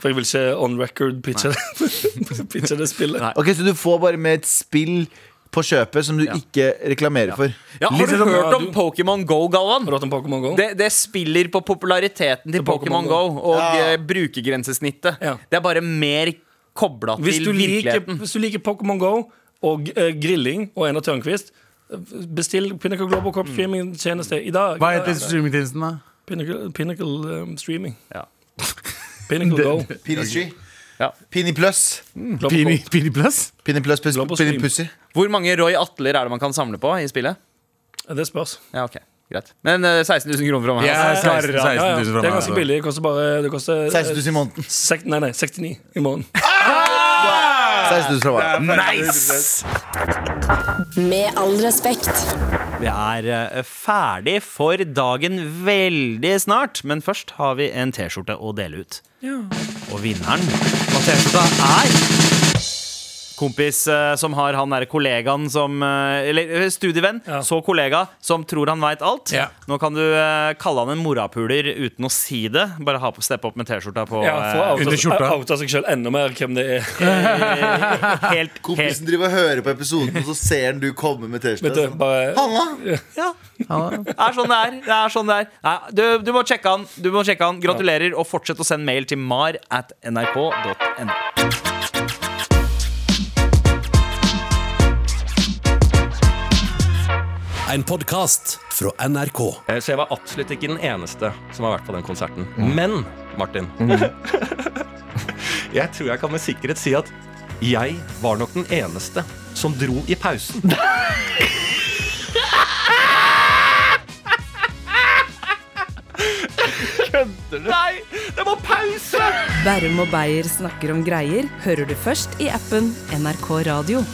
E: For jeg vil ikke on record pitche, det- pitche det spillet.
D: Nei.
C: Ok, Så du får bare med et spill på kjøpet som du ikke reklamerer for. sånn
D: ja, har
E: Litt
D: du
E: som-
D: hørt om
E: du-
D: Pokémon Go, Galvan?
E: Har du hørt om Pokémon GO?
D: Det, det spiller på populariteten til
E: Til Pokémon
D: Pokémon Go og eh, brukergrensesnittet.
E: Ja.
D: Det er bare mer kobla
E: hvis,
D: til
E: du liker,
D: virkeligheten.
E: hvis du liker Pokémon GO og eh, grilling og Einar Tørnquist, eh, bestill Pinnacle Global Corp streamingtjeneste i dag.
B: Hva
E: I
B: heter
E: dag.
B: streamingtjenesten, da?
E: Pinnacle, pinnacle um, streaming.
D: Ja.
E: Pinnacle Go.
C: Pinistry.
D: Ja.
C: Pini Plus.
E: Global
B: Pini,
E: Corp.
B: Pini Plus?
C: Pini Plus plus
E: Global
C: Pini
E: Stream.
C: Pussy.
D: Hvor mange Roy Atler er det man kan samle på i spillet?
E: Det spørs.
D: Ja, ok, greit Men eh, 16 000 kroner fra meg.
B: Ja,
D: altså.
B: 16 000
E: Ja, ja. Det
B: fra
E: er
B: meg.
E: ganske
B: altså.
E: billig. Det koster bare det koster, eh,
C: 16 000 i måneden.
E: sek, nei, nei, 69 i måneden.
C: 16 000 fra meg.
F: Med all respekt.
D: Vi er eh, ferdig for dagen veldig snart, men først har vi en T-skjorte å dele ut. Og vinneren av T-skjorta er Kompis eh, som har han derre kollegaen som eh, Eller eh, studievenn,
E: Ja.
D: så kollega, som tror han veit alt.
B: Ja.
D: Nå kan du eh, kalle han en morapuler uten å si det. Bare ha på, steppe opp med T-skouta på
E: Ja, for å
D: eh,
B: Under
E: oute-
B: skjorta.
E: oute seg selv enda mer hvem det er.
D: helt, helt
C: Kompisen driver og hører på episoden, og så ser han du komme med
E: Vet
C: T-skjorte.
E: du, bare
C: Hanna!
D: Ja. Det er sånn det er. Det er, sånn det er. Nei, du, du, må sjekke han. du må sjekke han. Gratulerer, og fortsett å sende mail til mar at nrk.no.
H: En podkast fra NRK.
I: Eh, Så jeg var absolutt ikke den eneste som har vært på den konserten. Men, Martin Jeg tror jeg kan med sikkerhet si at jeg var nok den eneste som dro i pausen.
A: Bærum og Beyer snakker om greier hører du først i appen NRK Radio.